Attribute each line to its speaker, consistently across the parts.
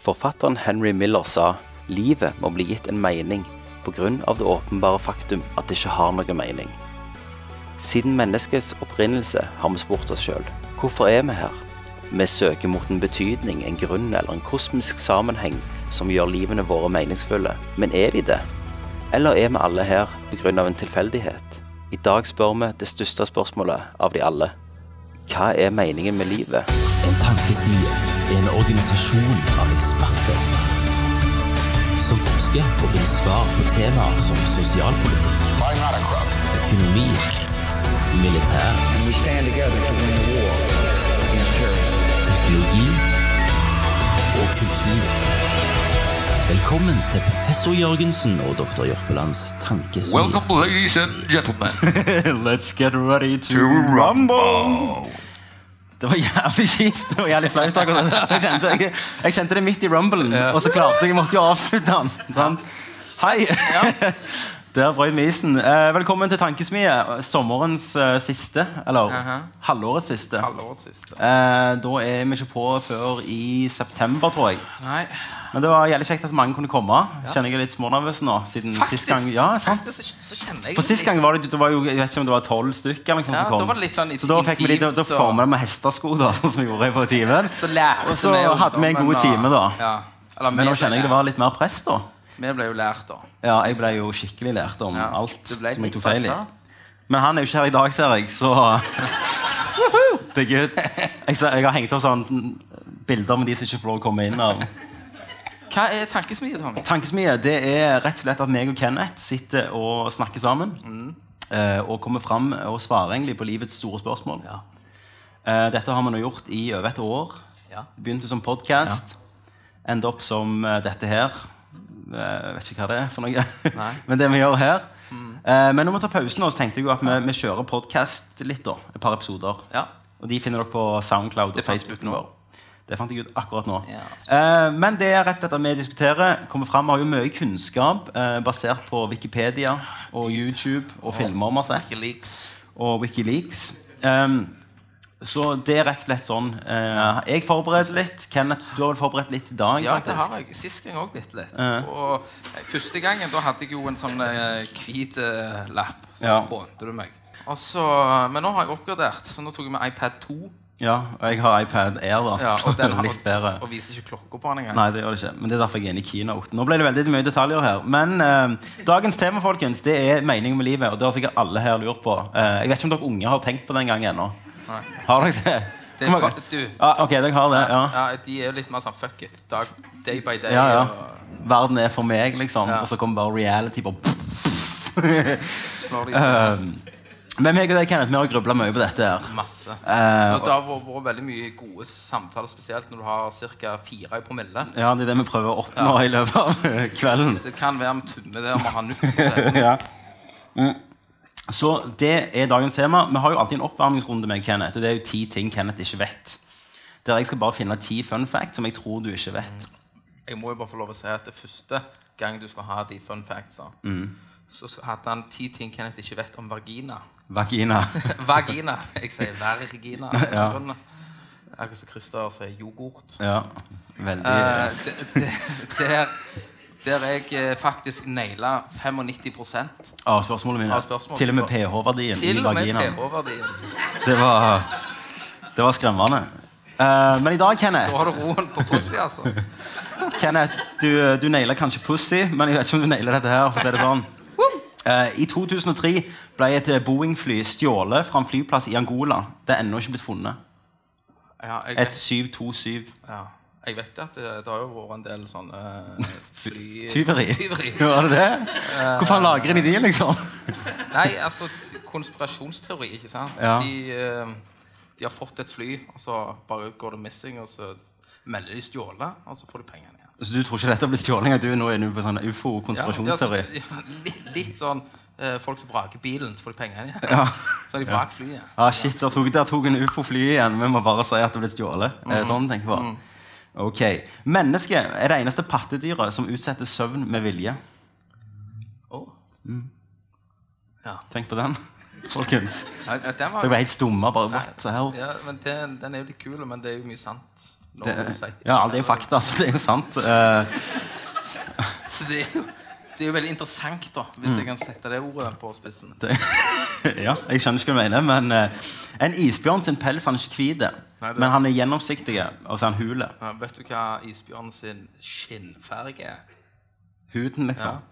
Speaker 1: Forfatteren Henry Miller sa livet må bli gitt en mening på grunn av det åpenbare faktum at det ikke har noen mening. Siden menneskets opprinnelse har vi spurt oss sjøl hvorfor er vi her? Vi søker mot en betydning, en grunn eller en kosmisk sammenheng som gjør livene våre meningsfulle. Men er de det? Eller er vi alle her pga. en tilfeldighet? I dag spør vi det største spørsmålet av de alle. Hva er meningen med livet?
Speaker 2: En tankesmie er en organisasjon av eksperter som forsker og finner svar på temaer som sosialpolitikk,
Speaker 3: I'm not a crook.
Speaker 2: økonomi, militær,
Speaker 4: We stand together to win the war against terrorism.
Speaker 2: teknologi og kultur. Velkommen til professor Jørgensen og doktor Jørpelands tankesmie.
Speaker 3: Welcome, ladies and gentlemen.
Speaker 5: Let's get ready to rumble! Det var jævlig kjipt det var jævlig flaut. akkurat det der. Jeg kjente, jeg, jeg kjente det midt i rumblen, og så klarte jeg måtte jo avslutte den. sant? Hei! Der brøt vi isen. Eh, velkommen til Tankesmie. Sommerens eh, siste, eller halvårets siste.
Speaker 6: Halvårets siste.
Speaker 5: Eh, da er vi ikke på før i september, tror jeg.
Speaker 6: Nei,
Speaker 5: Men det var jævlig kjekt at mange kunne komme. Kjenner jeg er litt smånervøs nå. Siden
Speaker 6: faktisk,
Speaker 5: sist gang, ja, sant?
Speaker 6: faktisk så- så kjenner jeg
Speaker 5: For sist gang var det, det var jo, jeg vet ikke om det var tolv stykker eller noe sånt
Speaker 6: Ja,
Speaker 5: som kom.
Speaker 6: da var det litt sånn
Speaker 5: så da fikk vi de, da, da
Speaker 6: intimt, og-
Speaker 5: formet vi med hestesko, da, sånn som vi gjorde på timen.
Speaker 6: Så lærte
Speaker 5: Og så
Speaker 6: jo
Speaker 5: hadde vi en god
Speaker 6: ungdommen,
Speaker 5: time, da.
Speaker 6: Ja. Eller,
Speaker 5: Men
Speaker 6: vi
Speaker 5: nå kjenner jeg
Speaker 6: ble
Speaker 5: det var litt mer press, da.
Speaker 6: lært. Vi ble jo lært, da.
Speaker 5: Ja, jeg ble jo skikkelig lært om
Speaker 6: Ja,
Speaker 5: alt
Speaker 6: du ble
Speaker 5: som jeg
Speaker 6: litt
Speaker 5: tok feil i.
Speaker 6: stressa.
Speaker 5: Men han er jo ikke her i dag, ser jeg, så Det er good. Jeg, ser, jeg har hengt opp sånn bilder med de som ikke får lov å komme inn. av
Speaker 6: Hva er tankesmie, Tommy?
Speaker 5: Tankesmie det er rett og slett at meg og Kenneth sitter og snakker sammen.
Speaker 6: Mm.
Speaker 5: eh, og kommer fram og svarer egentlig på livets store spørsmål. Eh, dette har vi nå gjort i over et år.
Speaker 6: Ja.
Speaker 5: Begynte som podkast. Endte opp som eh, dette her. Eh, vet ikke hva det er for noe. men det vi gjør her.
Speaker 6: Mm.
Speaker 5: Eh, men når vi tar pausen, nå, så tenkte jeg jo at vi, vi kjører podkast litt. da, Et par episoder.
Speaker 6: Ja.
Speaker 5: Og de finner dere på Soundcloud og
Speaker 6: Det fant du
Speaker 5: Facebook
Speaker 6: ut nå.
Speaker 5: vår. Det fant jeg ut akkurat nå.
Speaker 6: Ja. altså.
Speaker 5: Eh, men det er rett og slett at vi diskuterer. Kommer frem, Vi har jo mye kunnskap eh, basert på Wikipedia og YouTube og filmer vi har sett,
Speaker 6: Wikileaks.
Speaker 5: og Wikileaks. Ehm, så det er rett og slett sånn. Eh, jeg forbereder litt. Kenneth, du har vel forberedt litt i dag?
Speaker 6: Ja, det
Speaker 5: faktisk.
Speaker 6: har jeg. Sist gang òg bitte litt. Og eh, første gangen da hadde jeg jo en sånn eh, hvit eh, lapp. Så
Speaker 5: Ja.
Speaker 6: hånte du meg. Og så, eh, men nå har jeg oppgradert, så nå tok jeg med iPad 2.
Speaker 5: Ja, og jeg har iPad Air, da.
Speaker 6: Ja,
Speaker 5: så
Speaker 6: og den har-
Speaker 5: litt bedre.
Speaker 6: og viser ikke klokka på den engang.
Speaker 5: Nei, det gjør det ikke. Men det er derfor jeg er inne i keynote. Nå ble det veldig mye detaljer her. Men eh, dagens tema folkens, det er meningen med livet. Og det har sikkert alle her lurt på. Eh, jeg vet ikke om dere unge har tenkt på den gangen ennå.
Speaker 6: Nei.
Speaker 5: Har dere det? Hvor
Speaker 6: Det er
Speaker 5: mange-
Speaker 6: fa du,
Speaker 5: Ja, ok, dere har det. Ja.
Speaker 6: Ja, de er jo litt mer sånn fuck it. Dag, day by day.
Speaker 5: ja,
Speaker 6: Og
Speaker 5: ja. Verden er for meg, liksom.
Speaker 6: Ja.
Speaker 5: Og så kommer bare reality. Bare
Speaker 6: slår de til
Speaker 5: Men meg og deg, Kenneth, vi har grubla mye på dette her.
Speaker 6: masse.
Speaker 5: Eh,
Speaker 6: og det har vært vært veldig mye gode samtaler, spesielt når du har ca. fire i promille.
Speaker 5: Ja, Det er det vi prøver å oppnå i løpet av eh, kvelden.
Speaker 6: Så det kan være vi tummer det om å ha nytt prosent.
Speaker 5: ja. Mm. Så det er dagens tema. Vi har jo alltid en oppvarmingsrunde med Kenneth. og Det er jo ti ting Kenneth ikke vet. Der jeg skal bare finne ti fun facts som jeg tror du ikke vet.
Speaker 6: Jeg må jo bare få lov å si at det første gang du skal ha de fun factsa,
Speaker 5: Mm.
Speaker 6: så hadde han ti ting Kenneth ikke vet om vagina.
Speaker 5: Vagina.
Speaker 6: Vagina! Jeg sier vergina.
Speaker 5: Ja.
Speaker 6: Akkurat som Christer sier yoghurt.
Speaker 5: Ja, veldig
Speaker 6: Eh, det- det- der, der jeg eh, faktisk naila 95
Speaker 5: Av spørsmålene mine.
Speaker 6: av spørsmål.
Speaker 5: Til og med pH-verdien i
Speaker 6: Til og med
Speaker 5: vaginaen.
Speaker 6: pH-verdien.
Speaker 5: Det var, det var skremmende. Eh, men i dag, Kenneth,
Speaker 6: Da har du roen på pussy, altså.
Speaker 5: Kenneth du, du nailer kanskje pussy, men jeg vet ikke om du nailer dette her. for å si det sånn. Eh, I 2003 ble et eh, Boeing-fly stjålet fra en flyplass i Angola. Det er ennå ikke blitt funnet.
Speaker 6: Ja, jeg
Speaker 5: Et
Speaker 6: vet,
Speaker 5: 727.
Speaker 6: ja. jeg vet at det, det har jo vært en del sånne eh, fly...
Speaker 5: Tyveri. Var det det? Hvor faen lagrer de de, liksom?
Speaker 6: Nei, altså, konspirasjonsteori, ikke sant?
Speaker 5: Ja.
Speaker 6: De, eh, de har fått et fly, og så bare går det missing, og så melder de stjålet, og så får de pengene igjen.
Speaker 5: Så du tror ikke dette blir stjåling? at Du nå er inne på sånn
Speaker 6: Ja, ja, så-
Speaker 5: ufo-konspirasjonsteori?
Speaker 6: ja, litt, litt sånn eh, folk som vraker bilen, så får de pengene igjen.
Speaker 5: Ja.
Speaker 6: Så har de vraker flyet.
Speaker 5: Ja, Ah, shit, der tok, der tok en ufo flyet igjen. Vi må bare si at det ble stjålet. Mm
Speaker 6: Mhm.
Speaker 5: Sånn tenker jeg på. Ok. Mennesket er det eneste pattedyret som utsetter søvn med vilje. Mm.
Speaker 6: Å. Ja.
Speaker 5: Tenk på den, folkens.
Speaker 6: Nei, Den var
Speaker 5: Dere ble helt stumme. bare, what the hell?
Speaker 6: Ja, men den, den er jo litt kul, men det er jo mye sant. lov å si.
Speaker 5: Ja, det er jo fakta, altså. Det er jo sant. Eh,
Speaker 6: Så det er jo, det er jo veldig interessant, da, hvis jeg kan sette det ordet på spissen.
Speaker 5: Mm. det, ja, jeg skjønner ikke hva du mener, men eh, en isbjørn sin pels han er ikke hvit,
Speaker 6: Nei, det-
Speaker 5: men han er gjennomsiktig, og så er han hule.
Speaker 6: Ja, vet du hva isbjørn sin skinnfarge er?
Speaker 5: Huden,
Speaker 6: Ja,
Speaker 5: liksom.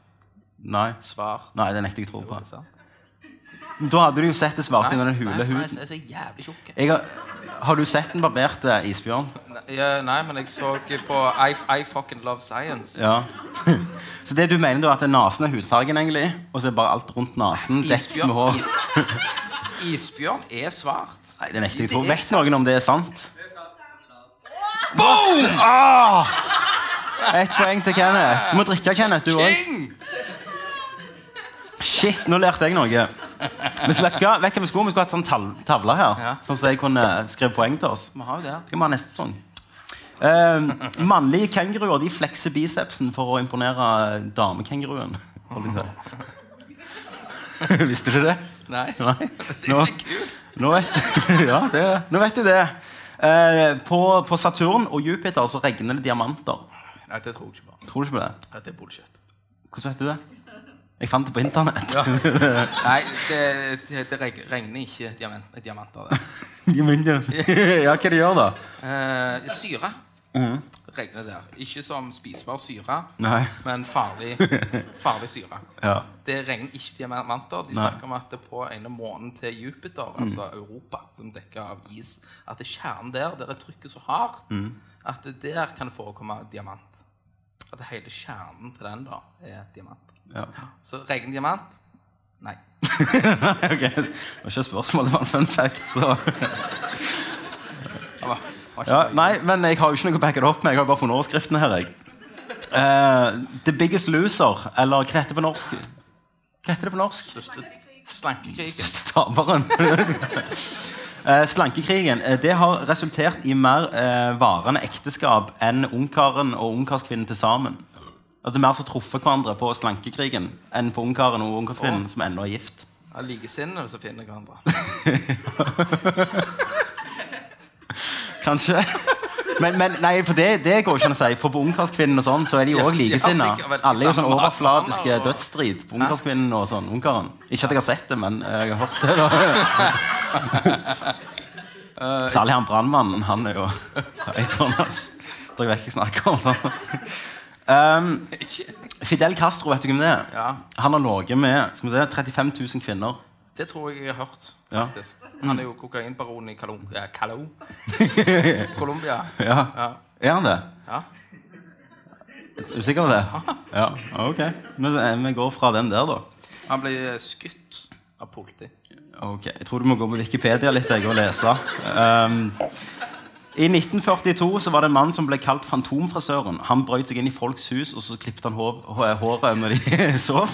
Speaker 5: Nei.
Speaker 6: svart.
Speaker 5: Nei, det nekter jeg å tro på.
Speaker 6: Ikke sant?
Speaker 5: Da hadde du jo sett det svarte
Speaker 6: Nei,
Speaker 5: under den
Speaker 6: nei,
Speaker 5: hule
Speaker 6: for han
Speaker 5: huden.
Speaker 6: er så jævlig tjukk.
Speaker 5: Jeg har, har du sett en barbert eh, isbjørn?
Speaker 6: Nei, ja, nei, men jeg så ikke på I, I fucking love science.
Speaker 5: Ja. Så det du mener da, at nasen er hudfargen, egentlig, og så er bare alt rundt nasen dekt med
Speaker 6: Isbjørn,
Speaker 5: hår?
Speaker 6: is, isbjørn er svart.
Speaker 5: Nei, det nekter jeg
Speaker 6: Det
Speaker 5: å tro.
Speaker 6: er
Speaker 5: Vet noen om det er sant? Boom! Ah! Ett poeng til Kenneth. Du må drikke, Kenneth, du òg.
Speaker 6: King!
Speaker 5: Shit, nå lærte jeg noe. Men så vet du hva? Vet du hva vi skulle? Vi skulle hatt sånn tal- tavle her,
Speaker 6: Ja.
Speaker 5: sånn så jeg kunne skrive poeng til oss.
Speaker 6: Vi har jo det.
Speaker 5: Skal vi ha neste sesong? Eh, mannlige kenguruer de flekser bicepsen for å imponere damekenguruen. holdt jeg på å si. Visste du det?
Speaker 6: Nei.
Speaker 5: Nei?
Speaker 6: Det
Speaker 5: Nå,
Speaker 6: er kult.
Speaker 5: nå, vet, ja, det, nå vet du det. Eh, på, på Saturn og Jupiter så regner det diamanter.
Speaker 6: Nei, det tror jeg ikke på.
Speaker 5: Tror du ikke på det?
Speaker 6: Dette er bullshit.
Speaker 5: Hvordan vet du det? Jeg fant det på internett.
Speaker 6: Ja. Nei, det, det, det reg- regner ikke diamant, diamanter. Det.
Speaker 5: Diamanter. ja, hva de gjør da?
Speaker 6: Eh, syre regner der. Ikke som spisbar syre,
Speaker 5: Mhm. Nei.
Speaker 6: men farlig, farlig syre.
Speaker 5: Ja.
Speaker 6: Det regner ikke diamanter. De snakker om at det på ene måneden til Jupiter,
Speaker 5: Mm.
Speaker 6: altså Europa, som dekker av is, at det er kjernen der, der er trykket så hardt,
Speaker 5: Mm.
Speaker 6: at det der kan det forekomme diamant. At hele kjernen til den da er diamant.
Speaker 5: ja.
Speaker 6: Så regner diamant? Nei.
Speaker 5: Ok, Det var ikke et spørsmål, det var en fun fact. Så.
Speaker 6: Det var, var ikke
Speaker 5: Ja,
Speaker 6: det.
Speaker 5: nei, men jeg har jo ikke noe å backe det opp med. Jeg har bare funnet overskriftene her. jeg. Eh, The Biggest Loser, eller hva heter det på norsk? Hva heter det på norsk?
Speaker 6: Største slankekrigen.
Speaker 5: Taperen. Eh, Slankekrigen eh, det har resultert i mer eh, varende ekteskap enn ungkaren og ungkarskvinnen til sammen. At det er mer som har truffet hverandre på slankekrigen enn på ungkaren og ungkarskvinnen som ennå er gift.
Speaker 6: Av likesinnede som finner hverandre.
Speaker 5: Kanskje. Men, men nei, for det, det går ikke an å si. For på Ungkarskvinnen og sånn, så er de
Speaker 6: Ja,
Speaker 5: òg
Speaker 6: de har
Speaker 5: likesinna.
Speaker 6: sikkert vært i
Speaker 5: Alle er jo sånn
Speaker 6: samme
Speaker 5: overfladiske
Speaker 6: land, og-
Speaker 5: dødsstrid på Ungkarskvinnen og sånn. Ungkaren. Ikke at jeg har sett det, men eh, jeg har hørt det. da.
Speaker 6: Eh,
Speaker 5: Særlig han brannmannen. Han er jo Eitan, ass. Dere vet hva jeg snakker om. da. Um,
Speaker 6: Ikke-
Speaker 5: Fidel Castro, vet du hvem det er?
Speaker 6: Ja.
Speaker 5: Han har ligget med skal vi se, 35 000 kvinner.
Speaker 6: Det tror jeg jeg har hørt,
Speaker 5: Ja.
Speaker 6: faktisk. Han er jo kokainbaron i Calum- eh, Calo. Colombia.
Speaker 5: Ja.
Speaker 6: Ja.
Speaker 5: Er han det?
Speaker 6: ja.
Speaker 5: Er du sikker på det? Ja, ok. Men eh, vi går fra den der, da.
Speaker 6: Han ble skutt av politi.
Speaker 5: Ok, Jeg tror du må gå på Wikipedia litt jeg, og lese. Um, I 1942 så var det en mann som ble kalt Fantomfrisøren. Han brøt seg inn i folks hus, og så klippet han hår, hå- håret når de sov.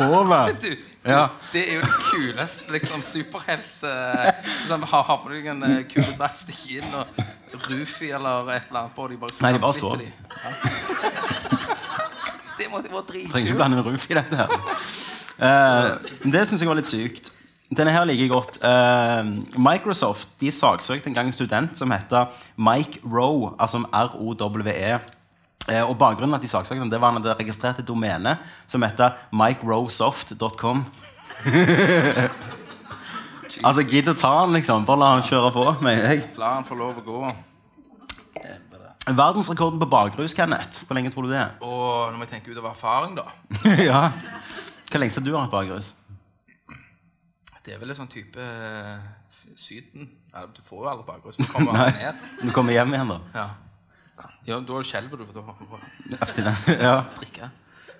Speaker 5: Håret?
Speaker 6: Du,
Speaker 5: Ja.
Speaker 6: det er jo det kuleste liksom, superhelt eh, liksom, Har har på deg en eh, kul drakt, stikke inn og Rufi eller et eller annet på og de bare
Speaker 5: Nei, de bare står.
Speaker 6: skamklipper de. Ja. Det måtte være
Speaker 5: Trenger ikke
Speaker 6: dritkult.
Speaker 5: blande en ruf i dette her. Eh, det syns jeg var litt sykt. Denne her liker jeg godt. Eh, Microsoft de saksøkte en gang en student som heter Mike Roe, altså R-O-W-E. Eh, og bakgrunnen at de saksøkte ham, det var han hadde registrert et domene som heter mikerosoft.com. altså, gidd å ta han, liksom. Bare la han kjøre på, mener jeg.
Speaker 6: La han få lov å gå.
Speaker 5: Verdensrekorden på bakrus, Kenneth. Hvor lenge tror du det er?
Speaker 6: Og når jeg tenker ut av erfaring, da
Speaker 5: ja. Hvor lenge siden du har hatt bakrus?
Speaker 6: Det er vel en sånn type eh, f- Syden. Ja, du får jo aldri bakgrunn. så kommer han ned.
Speaker 5: Du kommer hjem igjen, da?
Speaker 6: Ja. ja, da skjelver du, for da må du
Speaker 5: Ja.
Speaker 6: drikke.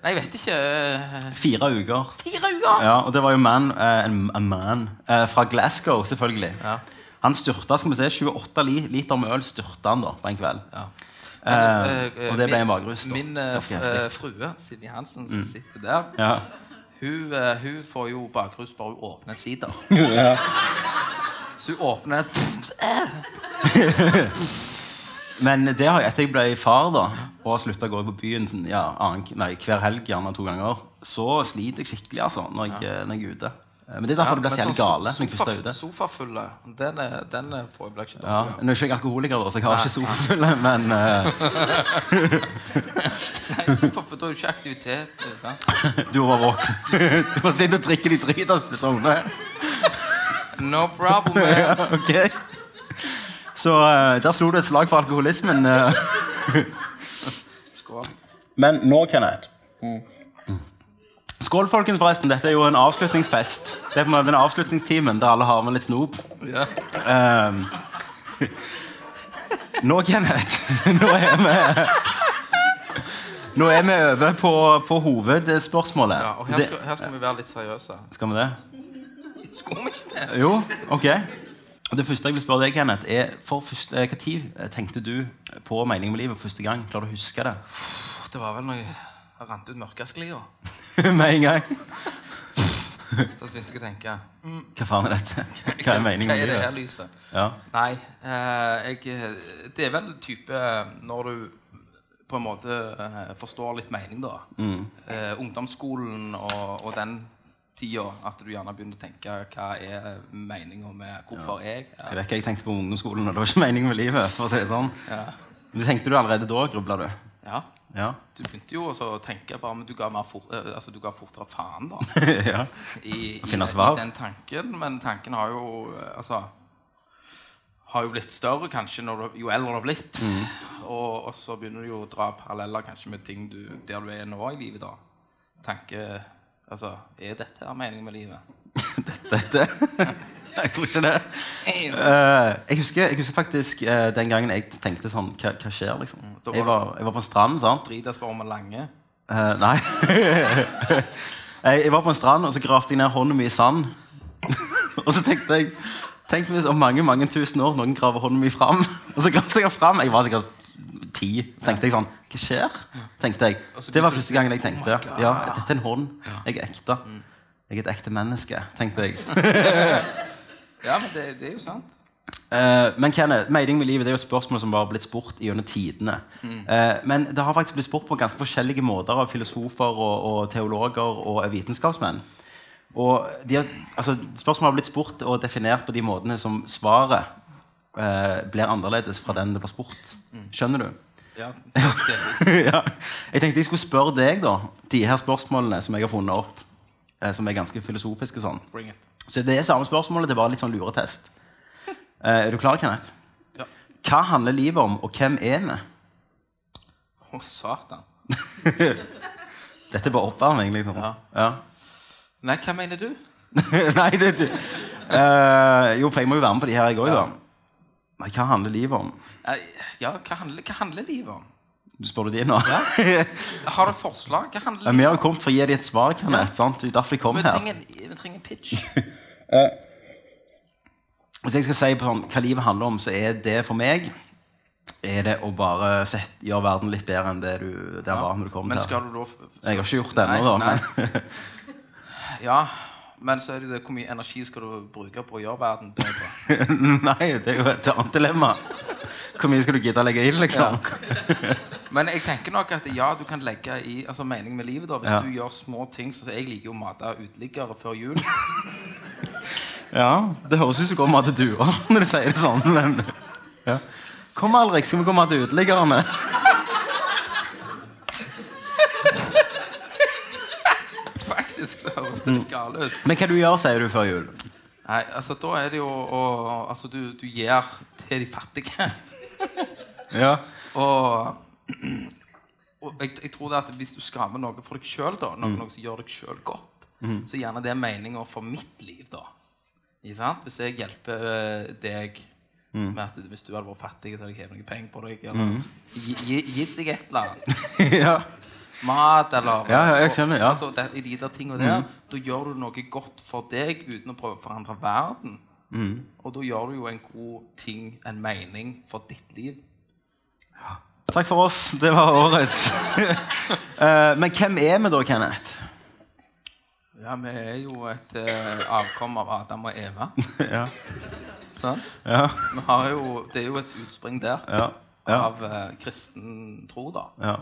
Speaker 6: Nei, jeg vet ikke. eh,
Speaker 5: Fire uker.
Speaker 6: Fire uker!
Speaker 5: Ja, og det var jo man, eh, en, en man eh, fra Glasgow, selvfølgelig.
Speaker 6: Ja.
Speaker 5: Han styrta skal vi se, 28 li liter med øl styrta han da, på en kveld.
Speaker 6: Ja.
Speaker 5: Eh,
Speaker 6: Men, eh,
Speaker 5: og det ble
Speaker 6: min-
Speaker 5: en bakrus, da.
Speaker 6: Min eh,
Speaker 5: Ganske heftig.
Speaker 6: eh, frue, Sidney Hansen,
Speaker 5: Mm.
Speaker 6: som sitter der,
Speaker 5: Ja.
Speaker 6: hun, eh, hun får jo bakrus bare hun åpner en sider. Så hun åpner
Speaker 5: Men det har, etter jeg ble far da, og har slutta å gå på byen ja, annen, nei, hver helg, gjerne to ganger, så sliter jeg skikkelig altså, når jeg, når jeg er ute. Men det er derfor du blir så jævlig gale når jeg først er
Speaker 6: sånn sofa,
Speaker 5: ute.
Speaker 6: sofafulle, den, er, den er- får jeg blir ikke
Speaker 5: Ja.
Speaker 6: dårlig av.
Speaker 5: Nå er ikke jeg alkoholiker, da, så jeg har ikke sofafulle, men eh,
Speaker 6: Nei, sofafull, Da er det jo ikke aktivitet. ikke sant?
Speaker 5: du var våken. Du må sitte og drikke de driteste sovne.
Speaker 6: No problem. eh. man.
Speaker 5: Ok. Så eh, der slo du et slag for alkoholismen. eh.
Speaker 6: Skål.
Speaker 5: Men nå, Kenneth
Speaker 6: Mm.
Speaker 5: Skål, folkens, forresten. Dette er jo en avslutningsfest. Det er på en måte den avslutningstimen der alle har med litt snop.
Speaker 6: Ja.
Speaker 5: Ehm, nå, Kenneth Nå er vi Nå er vi over på, på hovedspørsmålet.
Speaker 6: Ja, og her
Speaker 5: Det-
Speaker 6: skal, her skal vi være litt seriøse.
Speaker 5: skal vi det?
Speaker 6: Skulle vi ikke det?
Speaker 5: Jo, ok. Og Det første jeg vil spørre deg, Kenneth, er for første, eh, hva tid tenkte du på meningen med livet første gang? Klarer du å huske det?
Speaker 6: Det var vel når jeg rant ut mørkesklia.
Speaker 5: med en gang.
Speaker 6: Så begynte jeg å tenke mm,
Speaker 5: Hva faen er dette? Hva er meningen
Speaker 6: hva
Speaker 5: med
Speaker 6: er det her
Speaker 5: livet?
Speaker 6: lyset?
Speaker 5: Ja.
Speaker 6: Nei, eh, jeg, det er vel type eh, når du på en måte eh, forstår litt mening, da.
Speaker 5: Mm.
Speaker 6: Eh, ungdomsskolen og, og den tida at du gjerne begynner å tenke hva er meninga med hvorfor jeg
Speaker 5: Jeg
Speaker 6: er
Speaker 5: vet ikke, jeg tenkte på ungdomsskolen, og det var ikke meningen med livet. for å si det sånn. Men det tenkte du allerede da, grubla du?
Speaker 6: ja.
Speaker 5: Ja.
Speaker 6: Du begynte jo også å tenke bare Men du ga, mer fort, eh, altså, du ga fortere faen, da.
Speaker 5: ja.
Speaker 6: i, i,
Speaker 5: finne svar.
Speaker 6: i den tanken, men tanken har jo eh, altså, har jo blitt større kanskje når du, jo eldre du har blitt.
Speaker 5: Mm.
Speaker 6: Og, og så begynner du jo å dra paralleller kanskje med ting du, der du er nå i livet. da. Tanke, altså, Er dette her meningen med livet?
Speaker 5: Dette Jeg tror ikke det. Eh, jeg, husker, jeg husker faktisk eh, den gangen jeg tenkte sånn Hva, hva skjer, liksom?
Speaker 6: Mm, da var
Speaker 5: Jeg var, jeg var på en strand, sant?
Speaker 6: Drita spør om en lange.
Speaker 5: Eh, nei. jeg, jeg var på en strand, og så gravde jeg ned hånden min i sand. og så tenkte jeg Tenk hvis om mange mange tusen år noen graver hånden min fram. og så gravde jeg den fram. Jeg var sikkert ti. Så tenkte jeg sånn Hva skjer? tenkte jeg.
Speaker 6: Og så
Speaker 5: Det var
Speaker 6: begynte du å "Oh
Speaker 5: første gangen jeg tenkte Ja, dette er en hånd. Jeg er ekte.
Speaker 6: Mm.
Speaker 5: Jeg er et ekte menneske, tenkte jeg.
Speaker 6: Ja, men det, det er jo sant.
Speaker 5: Eh, men Kenneth, mening med livet det er jo et spørsmål som har blitt spurt gjennom tidene. Eh, men det har faktisk blitt spurt på ganske forskjellige måter av filosofer og, og teologer og vitenskapsmenn. Og de har, altså, spørsmålet har blitt spurt og definert på de måtene som svaret eh, blir annerledes fra den det ble spurt. Skjønner du?
Speaker 6: Ja, delvis.
Speaker 5: ja. Jeg tenkte jeg skulle spørre deg, da, de her spørsmålene som jeg har funnet opp, eh, som er ganske filosofiske sånn.
Speaker 6: Bring it.
Speaker 5: Så det er samme spørsmålet, det er bare litt sånn luretest. Eh, er du klar, Kenneth?
Speaker 6: Ja.
Speaker 5: Hva handler livet om, og hvem er vi?
Speaker 6: Å, satan.
Speaker 5: Dette er bare oppvarming, liksom.
Speaker 6: Ja. Nei, hva mener du?
Speaker 5: Nei, det du. Eh, jo, for jeg må jo være med på de her, jeg òg, da. Nei, hva handler livet om?
Speaker 6: Eh, Ja, hva handler, hva handler livet om?
Speaker 5: Du spør du de nå?
Speaker 6: Ja. Har du forslag? Hva handler
Speaker 5: Vi har jo kommet for å gi deg et svar, Kenneth. sant? Det er derfor jeg kom
Speaker 6: Vi
Speaker 5: her.
Speaker 6: trenger, vi trenger pitch.
Speaker 5: Hvis jeg skal si på sånn, hva livet handler om, så er det for meg er det å bare sett, gjøre verden litt bedre enn det du der var når du kom
Speaker 6: Men
Speaker 5: her.
Speaker 6: skal du da skal,
Speaker 5: Jeg har ikke gjort det ennå,
Speaker 6: Nei,
Speaker 5: da.
Speaker 6: nei. Ja, men så er det jo det hvor mye energi skal du bruke på å gjøre verden bedre?
Speaker 5: Nei, det er jo et annet dilemma. Hvor mye skal du gidde å legge inn, liksom?
Speaker 6: Men jeg tenker nok at ja, du kan legge i altså mening med livet. da Hvis
Speaker 5: Ja.
Speaker 6: du gjør små ting så Jeg liker jo å mate uteliggere før jul.
Speaker 5: Ja, Det høres ut som du går med til duer når du sier det sånn, men ja. Kom, Alrik, skal vi gå med til uteliggerne?
Speaker 6: Faktisk så høres det litt galt ut.
Speaker 5: Men hva du gjør, sier du før jul?
Speaker 6: Nei, altså da er det jo å Altså, du, du gir til de fattige.
Speaker 5: Ja.
Speaker 6: Og, og jeg, jeg tror det at hvis du skaper noe for deg sjøl, noe,
Speaker 5: Mm.
Speaker 6: noe som gjør deg sjøl godt, så er gjerne det er meninga for mitt liv, da. Ikke sant? Hvis jeg hjelper eh, deg
Speaker 5: Mm.
Speaker 6: med at hvis du hadde vært fattig, så hadde jeg hevet noen penger på deg, eller gi- gi- gitt deg et eller annet.
Speaker 5: ja.
Speaker 6: Mat, eller
Speaker 5: Ja, ja, jeg skjønner, ja. Mm.
Speaker 6: Altså, det, I de der tingene der, da gjør du noe godt for deg uten å prøve å forandre verden.
Speaker 5: Mm.
Speaker 6: Og da gjør du jo en god ting, en mening, for ditt liv.
Speaker 5: Takk for oss. Det var årets. Eh, men hvem er vi da, Kenneth?
Speaker 6: Ja, vi er jo et eh, avkom av Adam og Eva.
Speaker 5: Ja.
Speaker 6: sant?
Speaker 5: Ja.
Speaker 6: Vi har jo, det er jo et utspring der
Speaker 5: Ja. Ja.
Speaker 6: av eh, kristen tro, da.
Speaker 5: ja.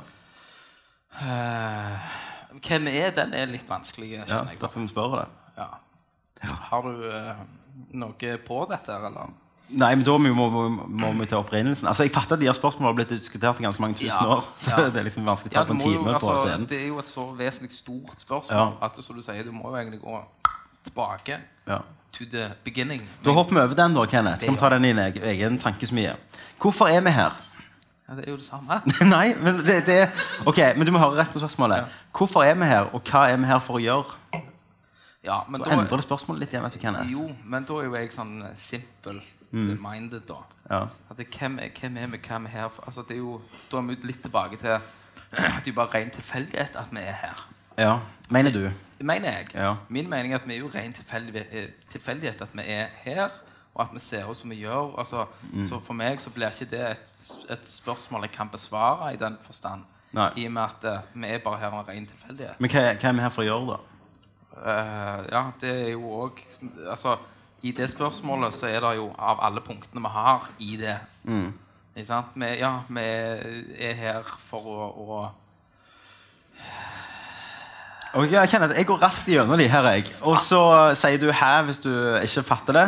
Speaker 6: Eh, hvem vi er, den er litt vanskelig,
Speaker 5: ja.
Speaker 6: kjenner jeg.
Speaker 5: Derfor vi spør det.
Speaker 6: Ja. Har du eh, noe på dette, her, eller?
Speaker 5: Nei, men da må, må, må, må vi til opprinnelsen. Altså, Jeg fatter at de her spørsmålene har blitt diskutert i ganske mange tusen
Speaker 6: Ja,
Speaker 5: år.
Speaker 6: ja.
Speaker 5: det er liksom vanskelig å ta
Speaker 6: Ja, du
Speaker 5: på en
Speaker 6: må jo,
Speaker 5: time på
Speaker 6: altså,
Speaker 5: scenen.
Speaker 6: det er jo et så vesentlig stort spørsmål at som du sier, du må jo egentlig gå tilbake
Speaker 5: Ja.
Speaker 6: to the beginning.
Speaker 5: Da
Speaker 6: Men-
Speaker 5: hopper vi over den, da, Kenneth. Skal vi ta den i din egen- egen tankesmie? Hvorfor er vi her?
Speaker 6: ja, det er jo det samme.
Speaker 5: Nei, men det, det er Ok, men du må høre resten av spørsmålet. Hvorfor er vi her, og hva er vi her for å gjøre?
Speaker 6: Ja, men
Speaker 5: Da endrer det spørsmålet litt igjen, vet du, Kenneth.
Speaker 6: Jo, men da er jo jeg sånn eh, simpelt minded, da.
Speaker 5: Mm. Ja.
Speaker 6: At det, hvem, er, hvem er vi, hva er vi her for? Altså, det er jo, da er vi litt tilbake til at det er jo bare ren tilfeldighet at vi er her.
Speaker 5: ja. Mener du?
Speaker 6: Mener jeg.
Speaker 5: Ja.
Speaker 6: Min mening er at vi er jo ren tilfeldig, eh, tilfeldighet at vi er her, og at vi ser ut som vi gjør. Altså,
Speaker 5: Mm.
Speaker 6: Så for meg så blir ikke det et, et spørsmål jeg kan besvare i den forstand.
Speaker 5: Nei.
Speaker 6: I og med at eh, vi er bare her av ren tilfeldighet.
Speaker 5: Men hva, er- hva er vi her for å gjøre, da?
Speaker 6: Eh, ja, det er jo òg Altså, i det spørsmålet så er det jo av alle punktene vi har i det.
Speaker 5: Mm.
Speaker 6: Ikke sant? Vi, ja, vi er her for å, å
Speaker 5: Ok, Kenneth, Jeg går raskt gjennom de her. jeg Og så eh, sier du 'hæ' hvis du ikke fatter det.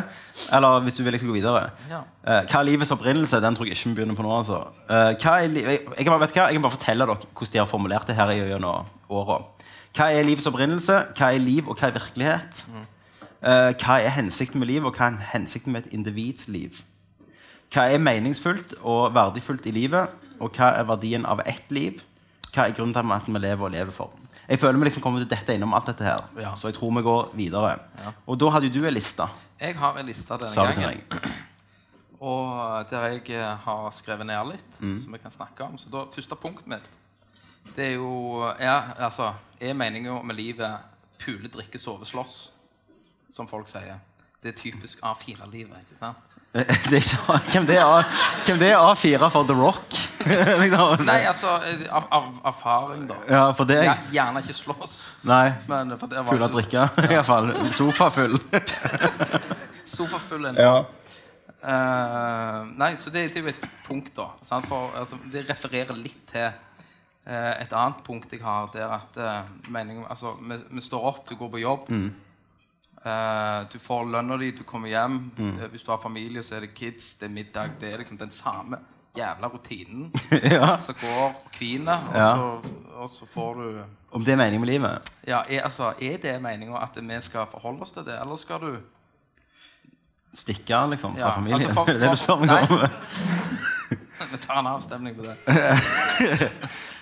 Speaker 5: Eller hvis du vil jeg skal gå videre.
Speaker 6: Ja.
Speaker 5: Eh, hva er livets opprinnelse? Den tror jeg ikke vi begynner på nå. altså Eh, hva er li jeg, jeg, kan bare, vet du hva? jeg kan bare fortelle dere hvordan de har formulert det her i gjennom åra. Hva er livets opprinnelse? Hva er liv, og hva er virkelighet? Eh, hva er hensikten med liv, og hva er hensikten med et individs liv? Hva er meningsfullt og verdifullt i livet? Og hva er verdien av ett liv? Hva er grunnen til at vi lever og lever for? Jeg føler vi liksom kommer til dette innom alt dette her.
Speaker 6: Ja.
Speaker 5: Så jeg tror vi går videre. Og da hadde jo du ei liste,
Speaker 6: Jeg har en liste denne
Speaker 5: sa du til
Speaker 6: gangen.
Speaker 5: meg.
Speaker 6: Og der jeg eh, har skrevet ned litt,
Speaker 5: Mm.
Speaker 6: som vi kan snakke om. Så da, første punktet mitt, det er jo Er, altså, er meninga med livet pule, drikke, sove, slåss? Som folk sier. Det er typisk A4-livet, ikke sant?
Speaker 5: Det er ikke, hvem, det er, A- hvem det er A4 for The Rock? Liksom.
Speaker 6: Nei, altså eh, av, av erfaring, da.
Speaker 5: Ja, for deg?
Speaker 6: Ja, gjerne ikke slåss.
Speaker 5: Nei.
Speaker 6: Men for det var
Speaker 5: Full av
Speaker 6: ikke
Speaker 5: drikke, i hvert fall. Sofa full.
Speaker 6: sofafull en Eh, nei, så det, det er jo et punkt, da. Sant? For, altså, det refererer litt til eh, et annet punkt jeg har, der at eh, meningen Altså, vi, vi står opp, du går på jobb.
Speaker 5: Mm.
Speaker 6: eh, du får lønna di, du kommer hjem.
Speaker 5: Mm.
Speaker 6: eh, hvis du har familie, så er det kids, det er middag. Det er liksom den samme jævla rutinen
Speaker 5: ja.
Speaker 6: som går og hviner, og,
Speaker 5: Ja.
Speaker 6: så, og så får du
Speaker 5: Om det er meningen med livet?
Speaker 6: Ja, er, altså, er det meninga at vi skal forholde oss til det, eller skal du
Speaker 5: Stikke, liksom, fra
Speaker 6: Ja,
Speaker 5: familien?
Speaker 6: altså, for-
Speaker 5: det er det du spør meg om?
Speaker 6: Vi tar en avstemning på det.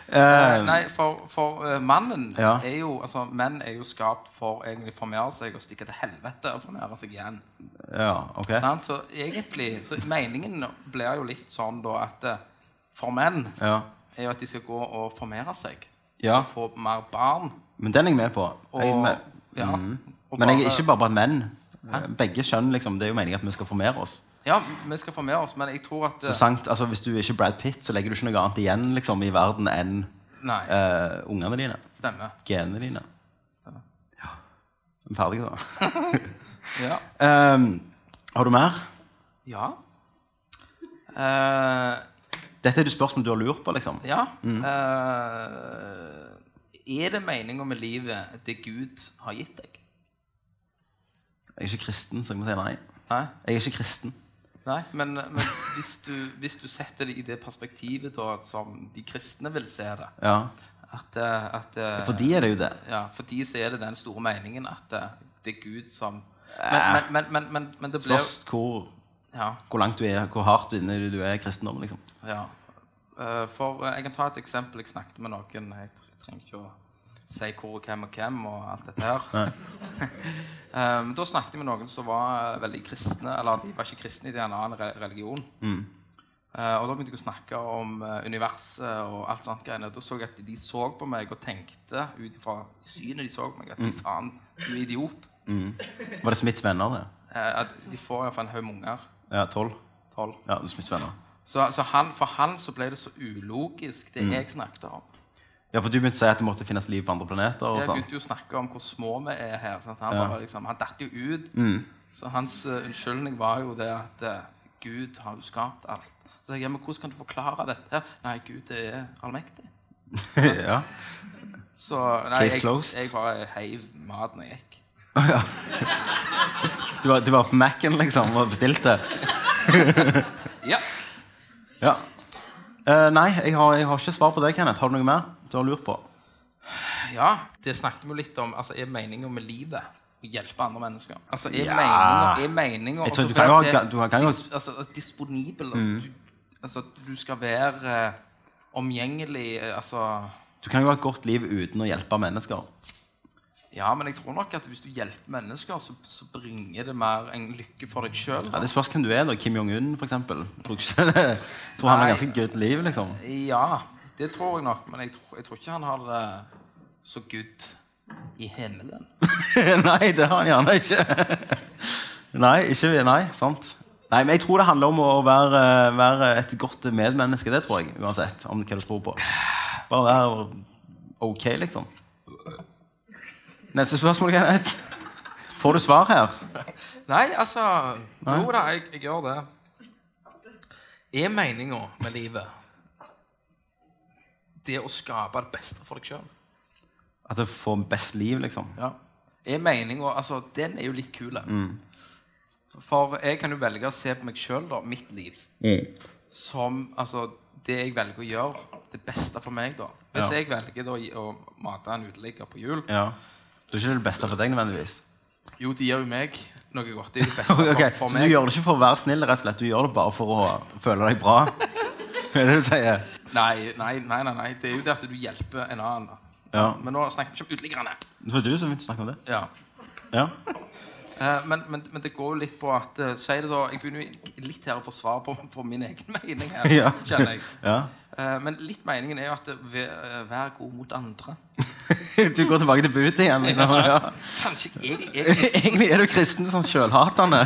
Speaker 6: Eh, nei, for, for eh, mannen
Speaker 5: Um. Ja.
Speaker 6: er jo Altså, menn er jo skapt for egentlig å formere seg og stikke til helvete og formere seg igjen.
Speaker 5: Ja, ok.
Speaker 6: Sant? Så egentlig så Meningen blir jo litt sånn da at eh, for menn
Speaker 5: Ja.
Speaker 6: er jo at de skal gå og formere seg.
Speaker 5: ja.
Speaker 6: Få mer barn.
Speaker 5: Men den er jeg med på.
Speaker 6: Og,
Speaker 5: Jeg er med.
Speaker 6: ja, og
Speaker 5: Mm. Men jeg er
Speaker 6: bare-
Speaker 5: ikke bare blant menn. Begge kjønn, liksom. Det er jo meningen at vi skal formere oss.
Speaker 6: Ja, vi skal formere oss, men jeg tror at eh,
Speaker 5: Så sant, altså Hvis du er ikke er Brad Pitt, så legger du ikke noe annet igjen liksom, i verden enn
Speaker 6: Nei,
Speaker 5: eh, ungene dine.
Speaker 6: stemmer.
Speaker 5: Genene dine.
Speaker 6: Stemmer.
Speaker 5: Ja. Ferdig, da.
Speaker 6: Ja.
Speaker 5: Ehm, har du mer?
Speaker 6: ja. Eh,
Speaker 5: Dette er det spørsmål du har lurt på, liksom.
Speaker 6: Ja. Eh, er det meninga med livet det Gud har gitt deg?
Speaker 5: Jeg er ikke kristen, så jeg må si nei.
Speaker 6: Nei,
Speaker 5: Jeg er ikke kristen.
Speaker 6: Nei men, men hvis, du, hvis du setter det i det perspektivet da, som de kristne vil se det
Speaker 5: Ja.
Speaker 6: at, eh, at, eh,
Speaker 5: For de er det jo det.
Speaker 6: ja, for de så er det den store meningen at eh, det er Gud som Men, men, men, men, men, men det ble
Speaker 5: Spørs hvor,
Speaker 6: ja,
Speaker 5: hvor langt du er, hvor hardt inne du er i kristendommen, liksom.
Speaker 6: ja. Eh, For eh, jeg kan ta et eksempel. Jeg snakket med noen. Jeg tr- jeg trenger ikke å si hvor og hvem og hvem og alt dette her. Ehm, da snakket jeg med noen som var eh, veldig kristne, eller de var ikke kristne i en annen re- religion. Eh, og da begynte jeg å snakke om eh, universet og alt sånt greiene. Da så jeg at de så på meg og tenkte ut ifra synet de så på meg, at fy faen, du er idiot.
Speaker 5: Var det Smiths venner, det?
Speaker 6: Eh, at de får iallfall en haug med unger.
Speaker 5: Ja, tolv?
Speaker 6: Tolv.
Speaker 5: Ja, det er Smiths venner.
Speaker 6: Så, så han, for han så ble det så ulogisk, det jeg snakket om.
Speaker 5: Ja, for du begynte å si at det måtte finnes liv på andre planeter og
Speaker 6: Jeg
Speaker 5: sånn.
Speaker 6: begynte jo å snakke om hvor små vi er her. Sant? Han, bare liksom, han datt jo ut.
Speaker 5: Mm.
Speaker 6: Så hans eh, unnskyldning var jo det at eh, Gud har jo skapt alt. Så jeg, ja, men Hvordan kan du forklare dette? Nei, Gud er allmektig.
Speaker 5: ja.
Speaker 6: Så nei,
Speaker 5: Case
Speaker 6: jeg,
Speaker 5: closed.
Speaker 6: jeg bare heiv maten jeg gikk.
Speaker 5: Du var, du var på Mac-en liksom, og bestilte?
Speaker 6: Ja.
Speaker 5: Ja. Eh, nei, jeg har, jeg har ikke svar på det, Kenneth. Har du noe mer du har lurt på?
Speaker 6: ja. Det snakket vi jo litt om. Altså, Er meninga med livet å hjelpe andre mennesker? Altså, Er meningen- er meninga
Speaker 5: Jeg tror du kan jo ha- du kan jo ha- Mm.
Speaker 6: altså, altså, Disponibel. Altså, du, altså, du skal være eh, omgjengelig eh, Altså
Speaker 5: Du kan jo ha et godt liv uten å hjelpe mennesker.
Speaker 6: Ja, men jeg tror nok at hvis du hjelper mennesker, så, så bringer det mer en lykke for deg sjøl.
Speaker 5: Ja, det spørs hvem du er, da. Kim Jong-un, f.eks. Tror, ikke det- tror han har
Speaker 6: Nei.
Speaker 5: ganske good liv, liksom.
Speaker 6: Ja, det tror jeg nok, men jeg tror, jeg tror ikke han har det så good i himmelen.
Speaker 5: nei, det har han gjerne ikke. nei, ikke Nei, sant. Nei, men jeg tror det handler om å være, være et godt medmenneske. Det tror jeg, uansett om hva du tror på. Bare være ok, liksom. Neste spørsmål, Kenneth. Får du svar her?
Speaker 6: Nei, altså Jo da, jeg, jeg gjør det. Er meninga med livet det å skape det beste for deg sjøl?
Speaker 5: At du får best liv, liksom?
Speaker 6: Ja. Mm. Er meninga Altså, den er jo litt kul. For jeg kan jo velge å se på meg sjøl, da, mitt liv, som altså det jeg velger å gjøre, det beste for meg, da. Hvis
Speaker 5: Ja.
Speaker 6: jeg velger da å mate en uteligger på jul
Speaker 5: Ja. Du er ikke det beste for deg, nødvendigvis.
Speaker 6: Jo, de gir jo meg noe godt. Det er det beste for,
Speaker 5: Ok,
Speaker 6: for
Speaker 5: Så du
Speaker 6: meg.
Speaker 5: gjør det ikke for å være snill, rett og slett. Du gjør det bare for å føle deg bra. Det er det du sier.
Speaker 6: Nei, nei, nei, nei, nei. Det er jo det at du hjelper en annen. da.
Speaker 5: Ja.
Speaker 6: Men nå snakker vi ikke om uteliggerne.
Speaker 5: Det var du som begynte å snakke om det.
Speaker 6: Ja.
Speaker 5: Ja.
Speaker 6: Eh, men, men, men det går jo litt på at eh, Si det da, Jeg begynner jo litt her å forsvare på, på min egen mening her,
Speaker 5: Ja.
Speaker 6: kjenner jeg.
Speaker 5: ja.
Speaker 6: Eh, men litt meningen er jo at det, ve- eh, vær god mot andre.
Speaker 5: Du går tilbake til budet igjen. Liksom. Ja.
Speaker 6: Kanskje jeg er litt
Speaker 5: Egentlig er du kristen sånn sjølhatende.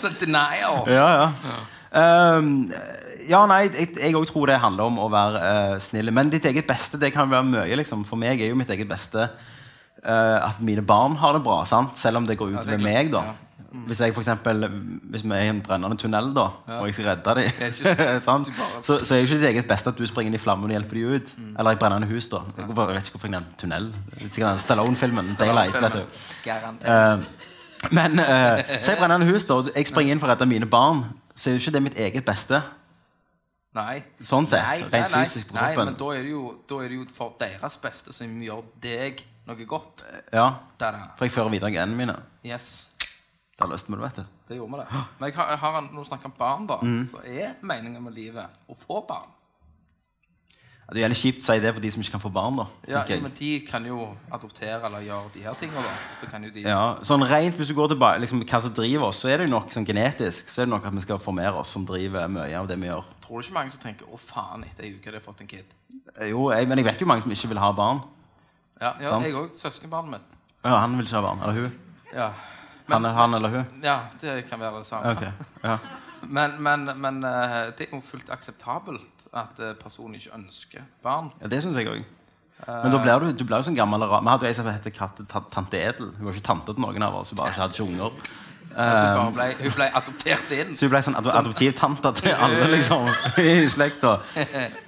Speaker 6: sånn denier.
Speaker 5: Ja, ja. Ehm, ja, nei, jeg òg tror det handler om å være eh, snill. Men ditt eget beste det kan være mye. liksom. For meg er jo mitt eget beste eh, at mine barn har det bra. sant? Selv om det går ut
Speaker 6: det
Speaker 5: over
Speaker 6: er klart, Mm.
Speaker 5: meg. da. Hvis jeg for eksempel, hvis vi er i en brennende tunnel, da, og jeg skal redde
Speaker 6: er ikke
Speaker 5: dem
Speaker 6: så-
Speaker 5: sant?
Speaker 6: du bare- Mm.
Speaker 5: så, så er jo ikke ditt eget beste at du springer inn i flammen og hjelper dem ut. Eller i brennende hus. da. Jeg bare vet ikke hvorfor jeg nevnte tunnel. Sikkert den Stallone-filmen. Daylight, vet du.
Speaker 6: Garantert.
Speaker 5: Eh, Men eh, si brennende hus, da. og Jeg springer inn for å redde mine barn. Så er jo ikke det mitt eget beste.
Speaker 6: Nei.
Speaker 5: sånn sett,
Speaker 6: Nei,
Speaker 5: rent
Speaker 6: nei, nei.
Speaker 5: fysisk på
Speaker 6: Nei,
Speaker 5: kroppen.
Speaker 6: men da er, det jo, da er det jo for deres beste som gjør deg noe godt.
Speaker 5: Ja,
Speaker 6: Der, der.
Speaker 5: For jeg fører videre genene mine.
Speaker 6: Yes,
Speaker 5: Det har løst med det, vet du.
Speaker 6: det gjorde vi det. Men jeg har, jeg har en, når du snakker om barn, da,
Speaker 5: Mm.
Speaker 6: så er meningen med livet å få barn.
Speaker 5: Ja, Det er veldig kjipt å si det for de som ikke kan få barn. da.
Speaker 6: Ja,
Speaker 5: tenker jeg.
Speaker 6: men de kan jo adoptere eller gjøre de her tingene, da. Så kan jo de
Speaker 5: ja, sånn rent, Hvis du går tilbake liksom, hva som driver oss, så er det jo nok sånn genetisk. Så er det nok at vi skal formere oss, som driver mye av det vi gjør.
Speaker 6: Tror du ikke mange som tenker 'Å, faen, etter ei uke har jeg fått en kid'?
Speaker 5: Eh, Jo, jeg, Men jeg vet jo mange som ikke vil ha barn.
Speaker 6: Ja, ja
Speaker 5: Sant.
Speaker 6: jeg òg. Søskenbarnet mitt.
Speaker 5: Ja, Han vil ikke ha barn. Eller hun.
Speaker 6: Ja.
Speaker 5: Han, han eller hun.
Speaker 6: ja, det kan være det samme.
Speaker 5: Ok, ja.
Speaker 6: Men, men, men eh, det er jo fullt akseptabelt at eh, personen ikke ønsker barn.
Speaker 5: Ja, Det syns jeg òg. Men da blir du, du blir jo sånn gammel og rar. Vi hadde jo ei som het katte- ta- Tante Edel. Hun var ikke tante til noen av oss. Hun bare ikke hadde ikke unger.
Speaker 6: Altså, hun
Speaker 5: Um,
Speaker 6: bare ble, hun ble adoptert inn.
Speaker 5: Så hun ble sånn ad adoptivtante til alle liksom, i slekta.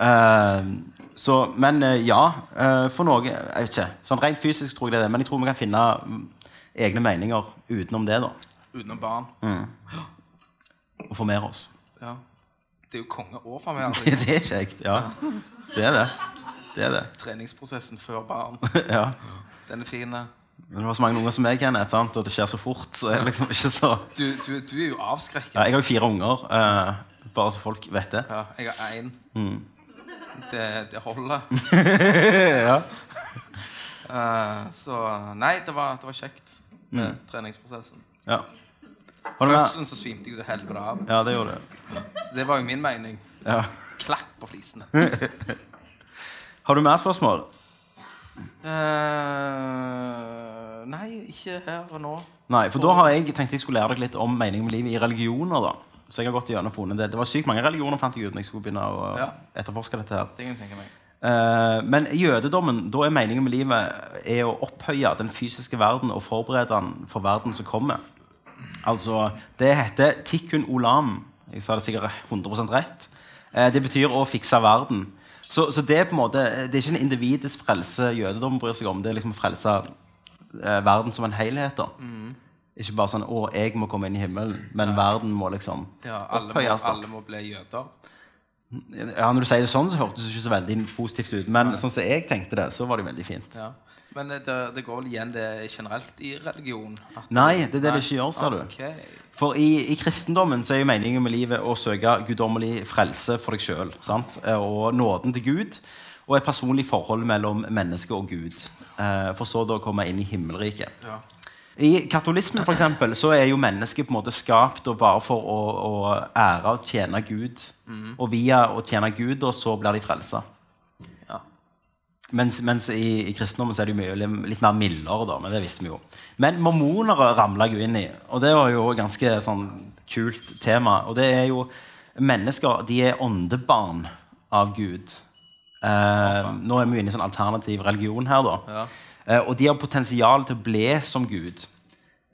Speaker 5: Eh, så, men eh, ja, eh, for noe Jeg vet ikke. Sånn rent fysisk tror jeg det er det. Men jeg tror vi kan finne mm, egne meninger utenom det. da
Speaker 6: Utenom barn.
Speaker 5: Og formere oss.
Speaker 6: Ja. Det er jo konge altså, å formere
Speaker 5: Ja,
Speaker 6: seg.
Speaker 5: det er kjekt. Ja. Det er det. Det er det.
Speaker 6: Treningsprosessen før barn.
Speaker 5: Ja.
Speaker 6: Den er fin. eh.
Speaker 5: Men det var så mange unger som meg, Kenneth, sant? og det skjer så fort. Så jeg, liksom ikke så...
Speaker 6: Du, du, du er jo avskrekket.
Speaker 5: Ja, jeg har jo fire unger, eh, bare så folk vet det.
Speaker 6: Ja, jeg har én.
Speaker 5: Mm.
Speaker 6: Det, det holder. Eh, så Nei, det var, det var kjekt med
Speaker 5: Mm.
Speaker 6: treningsprosessen.
Speaker 5: Ja. Var det mer?
Speaker 6: Fødselen så svimte jeg jo til helvete av.
Speaker 5: Ja, det gjorde du.
Speaker 6: Så det var jo min mening.
Speaker 5: Ja.
Speaker 6: Klakk på flisene.
Speaker 5: Mm. Har du mer spørsmål?
Speaker 6: Eh, nei, ikke her og nå.
Speaker 5: Nei, for da har jeg tenkt jeg skulle lære deg litt om meningen med livet i religioner. da. Så jeg har gått igjennom og funnet det. Det var sykt mange religioner fant jeg ut når jeg skulle begynne å
Speaker 6: Ja.
Speaker 5: etterforske dette. her.
Speaker 6: Det kan jeg tenke meg.
Speaker 5: Eh, men i jødedommen, da er meningen med livet er å opphøye den fysiske verden og forberede den for verden som kommer. Altså, det heter tikkun olam. Jeg sa det sikkert 100 rett. Eh, det betyr å fikse verden. Så, så det er på en måte, det er ikke en individets frelse jødedom bryr seg om. Det er liksom å frelse eh, verden som en helhet. da.
Speaker 6: Mm.
Speaker 5: Ikke bare sånn 'Å, jeg må komme inn i himmelen', men verden må liksom
Speaker 6: Ja, alle, må,
Speaker 5: opphøyes. da.
Speaker 6: alle må bli jøder.
Speaker 5: Ja, Når du sier det sånn, så hørtes det ikke så veldig positivt ut. Men sånn som jeg tenkte det, så var det jo veldig fint.
Speaker 6: Ja. Men eh, det, det går vel igjen det generelt i religion? At,
Speaker 5: Nei, det er det det ikke gjør, ser du.
Speaker 6: Ok.
Speaker 5: For i, i kristendommen så er jo meningen med livet å søke guddommelig frelse for deg sjøl. Og nåden til Gud. Og et personlig forhold mellom menneske og Gud. eh, For så da å komme inn i himmelriket.
Speaker 6: Ja.
Speaker 5: I katolismen for eksempel, så er jo mennesket på en måte skapt og bare for å, å ære og tjene Gud. Og via å tjene Gud, og så blir de frelsa.
Speaker 6: Ja.
Speaker 5: Mens, mens i, i kristendommen så er det jo mye, li- litt mer mildere, da, men det visste vi jo. Men mormonere ramla jeg jo inn i, og det var jo et ganske sånn kult tema. Og det er jo mennesker De er åndebarn av Gud. Eh, nå er vi jo inne i sånn alternativ religion her, da.
Speaker 6: Ja.
Speaker 5: Eh, og de har potensial til å bli som Gud.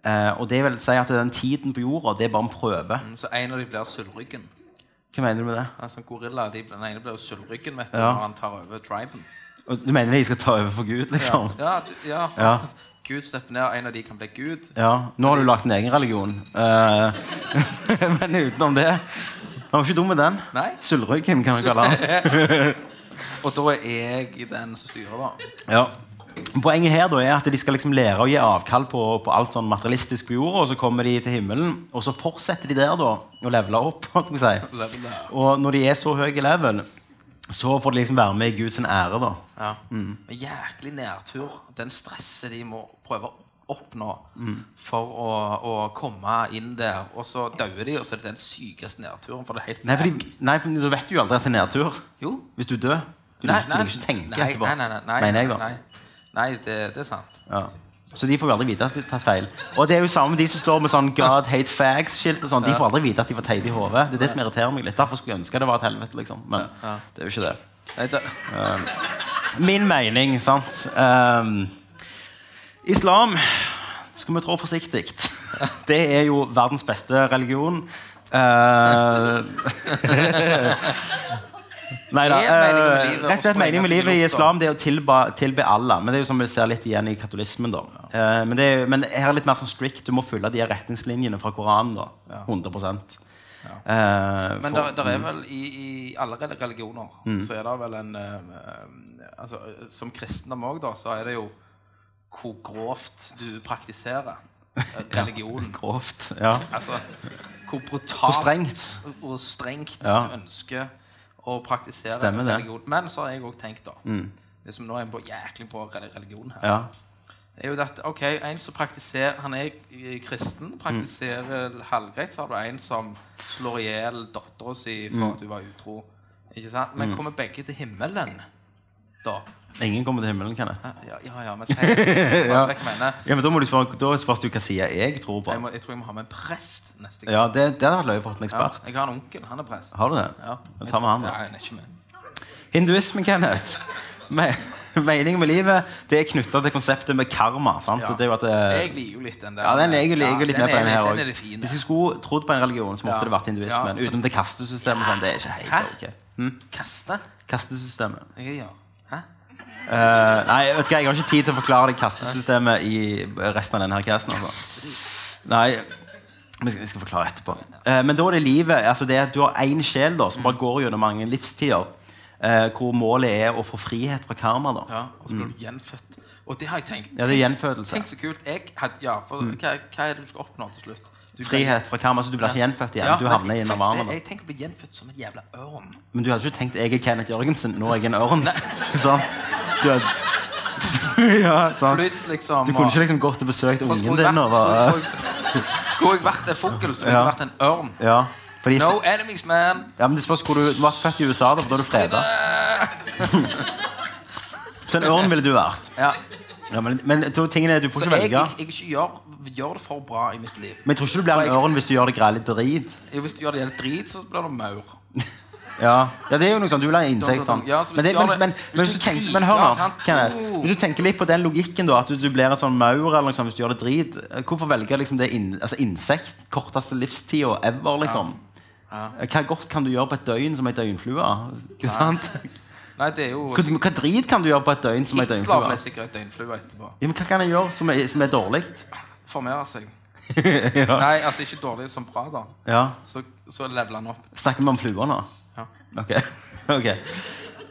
Speaker 5: Eh, og det vil si at den tiden på jorda, det er bare en prøve.
Speaker 6: Mm, Så en av de blir sølvryggen.
Speaker 5: Hva mener du med det?
Speaker 6: Altså, gorilla, de, den ene blir jo sølvryggen vet du,
Speaker 5: Ja.
Speaker 6: når han tar over triben.
Speaker 5: Og Du mener de skal ta over for Gud, liksom?
Speaker 6: Ja, du, ja, for
Speaker 5: Ja.
Speaker 6: Gud stepper ned, og en av de kan bli Gud.
Speaker 5: Ja, nå har du lagt en egen religion. Eh, men utenom det Han var ikke dum med den.
Speaker 6: Nei.
Speaker 5: Sølvryggen, kan vi kalle han.
Speaker 6: Og da er jeg den som styrer, da.
Speaker 5: Ja. Poenget her da er at de skal liksom lære å gi avkall på, på alt sånn materialistisk på jorda, og så kommer de til himmelen, og så fortsetter de der da å levele opp. holdt jeg på å si.
Speaker 6: Level der.
Speaker 5: Og når de er så høye i level, så får de liksom være med i Guds ære. da.
Speaker 6: Ja.
Speaker 5: Mm.
Speaker 6: Men jæklig nedtur. Den stresset de må prøve å oppnå
Speaker 5: Mm.
Speaker 6: for å, å komme inn der. Og så dauer de, og så er det den sykeste nedturen. For det er helt
Speaker 5: Nei, fordi, nei, for du vet jo aldri at det er nedtur
Speaker 6: Jo.
Speaker 5: hvis du dør. Du
Speaker 6: Nei,
Speaker 5: vil
Speaker 6: nei,
Speaker 5: ikke tenke
Speaker 6: nei,
Speaker 5: etterpå.
Speaker 6: Nei, nei, nei, nei,
Speaker 5: mener jeg da.
Speaker 6: nei, nei det, det er sant.
Speaker 5: Ja. Så de får jo aldri vite at de har tatt feil. Og det er jo samme med de som står med sånn God hate fags-skilt. og sånn De får aldri vite at de var teite i hodet. Det er det som irriterer meg litt. Derfor skulle jeg ønske det var et helvete, liksom. Men det er jo ikke det.
Speaker 6: Nei, det,
Speaker 5: Min mening, sant Ehm, Islam skal vi trå forsiktig. Det er jo verdens beste religion. Uh, Nei da.
Speaker 6: Det er meningen
Speaker 5: eh,
Speaker 6: med livet,
Speaker 5: Rett og slett
Speaker 6: å
Speaker 5: meningen med
Speaker 6: sprenge seg i
Speaker 5: livet i
Speaker 6: lufta.
Speaker 5: islam det er å tilba, tilbe Allah. Men det er jo som vi ser litt igjen i katolismen. da Eh, men, det er, jo- men her er det litt mer sånn strict. Du må følge de retningslinjene fra Koranen. da 100 Eh,
Speaker 6: men
Speaker 5: for- Mm.
Speaker 6: der, der er vel i, i alle rel- religioner så er det vel en eh, eh, altså, eh, Som kristendom òg, da, så er det jo hvor grovt du praktiserer eh, religionen.
Speaker 5: Grovt. Ja.
Speaker 6: Altså hvor brutalt
Speaker 5: Hvor strengt.
Speaker 6: hvor strengt
Speaker 5: Ja.
Speaker 6: du ønsker å praktisere
Speaker 5: Stemmer det. Mm.
Speaker 6: religion. Men så har jeg òg tenkt, da Hvis vi nå er på jæklig på rel- religion her
Speaker 5: ja.
Speaker 6: er jo dette, ok, En som praktiserer Han er eh, kristen, praktiserer
Speaker 5: Mm.
Speaker 6: halvgreit. Så har du en som slår i hjel dattera si
Speaker 5: Mm.
Speaker 6: for at hun var utro. Ikke sant? Men kommer begge til himmelen, da?
Speaker 5: Ingen kommer til himmelen, kan jeg.
Speaker 6: Ja, ja, ja men si det. sant, hva jeg mener.
Speaker 5: Ja, men Da må du spørre, da spørs du hva sida jeg tror på.
Speaker 6: Jeg, må, jeg tror jeg må ha med en prest neste gang.
Speaker 5: Ja, det, det hadde vært løye å få en
Speaker 6: Ja,
Speaker 5: ekspert.
Speaker 6: jeg har en onkel. Han er prest.
Speaker 5: Har du det?
Speaker 6: Ja.
Speaker 5: Da tar vi han,
Speaker 6: Ja,
Speaker 5: da.
Speaker 6: han er ikke med.
Speaker 5: Hinduismen, Kenneth. Me meningen med livet det er knytta til konseptet med karma. sant?
Speaker 6: Ja.
Speaker 5: Og det er jo at det,
Speaker 6: Jeg liker jo litt den der.
Speaker 5: Eh, ja, Den leker
Speaker 6: Ja,
Speaker 5: litt med på den
Speaker 6: er litt-
Speaker 5: her
Speaker 6: Den er
Speaker 5: òg.
Speaker 6: litt fin.
Speaker 5: Hvis jeg skulle trodd på en religion, så måtte
Speaker 6: Ja.
Speaker 5: det vært hinduismen.
Speaker 6: Ja, for-
Speaker 5: Utenom det kastesystemet. Sånn, det er ikke
Speaker 6: Hæ?
Speaker 5: helt ok. Hm?
Speaker 6: Kaste?
Speaker 5: Kastesystemet.
Speaker 6: Jeg gjør. Hæ?
Speaker 5: Eh, nei, vet du hva, jeg har ikke tid til å forklare det kastesystemet i resten av denne her casten. Altså. Nei, men jeg skal- jeg skal forklare etterpå. Eh, men da er det livet. altså det er at Du har én sjel da, som bare går gjennom mange livstider. eh, hvor målet er å få frihet fra karma. da.
Speaker 6: Ja, og så blir du gjenfødt. Og det har jeg tenkt.
Speaker 5: Mm. Ja, det er gjenfødelse. Mm.
Speaker 6: Tenk så kult. Jeg had, ja, for hva, hva er det du skal oppnå til slutt? Du ble-
Speaker 5: Frihet fra karma, så du blir ikke gjenfødt igjen.
Speaker 6: Ja,
Speaker 5: du
Speaker 6: men
Speaker 5: havner
Speaker 6: jeg
Speaker 5: i
Speaker 6: fikk
Speaker 5: nirvana.
Speaker 6: det.
Speaker 5: da.
Speaker 6: Jeg tenker å bli gjenfødt som en jævla ørn.
Speaker 5: Men du hadde ikke tenkt jeg er Kenneth Jørgensen, nå er jeg en ørn. sant? Du, hadde- ja, sant?
Speaker 6: Flytt, liksom.
Speaker 5: du kunne
Speaker 6: og-
Speaker 5: ikke liksom gått og besøkt ungen
Speaker 6: for skulle jeg
Speaker 5: din? og
Speaker 6: vært-
Speaker 5: bare-
Speaker 6: skulle jeg- skulle- Skulle jeg vært en fugl, så ville jeg
Speaker 5: Ja.
Speaker 6: vært en ørn.
Speaker 5: Ja, fordi,
Speaker 6: No enemies, man.
Speaker 5: ja, men Det spørs hvor du, du var født i USA, da, for da er du freda. Så en Sånn ørn ville du vært.
Speaker 6: Ja.
Speaker 5: Ja, men, men to tingene er du får
Speaker 6: Så
Speaker 5: ikke
Speaker 6: jeg,
Speaker 5: velge.
Speaker 6: jeg, jeg ikke gjør, gjør det for bra i mitt liv.
Speaker 5: Men jeg tror ikke du blir
Speaker 6: For
Speaker 5: en
Speaker 6: jeg-
Speaker 5: ørn hvis du gjør det greit litt drit.
Speaker 6: Jo, Hvis du gjør det helt drit, så blir du maur.
Speaker 5: Ja. ja, det er jo noe sånn, Du vil ha en insekt. sånn.
Speaker 6: Ja, så hvis
Speaker 5: Men, det,
Speaker 6: du
Speaker 5: men,
Speaker 6: gjør det-
Speaker 5: men,
Speaker 6: hvis
Speaker 5: men,
Speaker 6: du
Speaker 5: hvis du tenker,
Speaker 6: kriger,
Speaker 5: men hør nå,
Speaker 6: sant?
Speaker 5: Kenneth.
Speaker 6: Oh.
Speaker 5: Hvis du tenker litt på den logikken, da, at du, du blir en sånn maur eller noe sånt hvis du gjør det drit, eh, hvorfor velge liksom det inn- altså insekt? Korteste livstida ever, liksom. Hva godt kan du gjøre på et døgn som ei døgnflue? Ikke sant?
Speaker 6: Nei, det er jo
Speaker 5: Hva, hva drit kan du gjøre på et døgn som er
Speaker 6: Hitler
Speaker 5: døgnflue?
Speaker 6: ble sikkert døgnflue etterpå.
Speaker 5: Ja, men hva kan jeg gjøre som er, som er dårlig?
Speaker 6: Formere seg.
Speaker 5: ja.
Speaker 6: Nei, altså ikke dårlig som bra, da.
Speaker 5: ja.
Speaker 6: Så, så leveler han opp.
Speaker 5: Snakker vi om fluer nå?
Speaker 6: Ja.
Speaker 5: Ok. ok.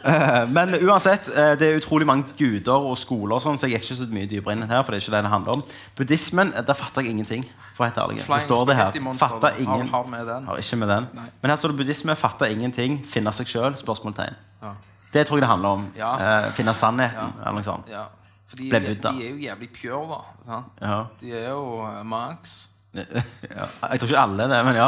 Speaker 5: Eh, Men uansett, eh, det er utrolig mange guder og skoler, og sånn, så jeg gikk ikke så mye dypere inn her. for det er ikke det det handler om. Buddhismen eh, der fatter jeg ingenting. for å være helt ærlig. Det
Speaker 6: Flying
Speaker 5: står det her.
Speaker 6: spaghetti monster, da.
Speaker 5: Fatter ingen.
Speaker 6: Har, har med den.
Speaker 5: Har ikke med den.
Speaker 6: Nei.
Speaker 5: Men her står det buddhisme, fatter ingenting, finne seg sjøl? Spørsmålstegn.
Speaker 6: Ja.
Speaker 5: Det tror jeg det handler om.
Speaker 6: Ja.
Speaker 5: Eh, finne sannheten. eller noe sånt.
Speaker 6: Ja. Fordi
Speaker 5: Ble
Speaker 6: de,
Speaker 5: Buddha.
Speaker 6: de er jo jævlig pure, da. Sant?
Speaker 5: Ja.
Speaker 6: De er jo uh, monks.
Speaker 5: Ja. Jeg tror ikke alle er det, men ja.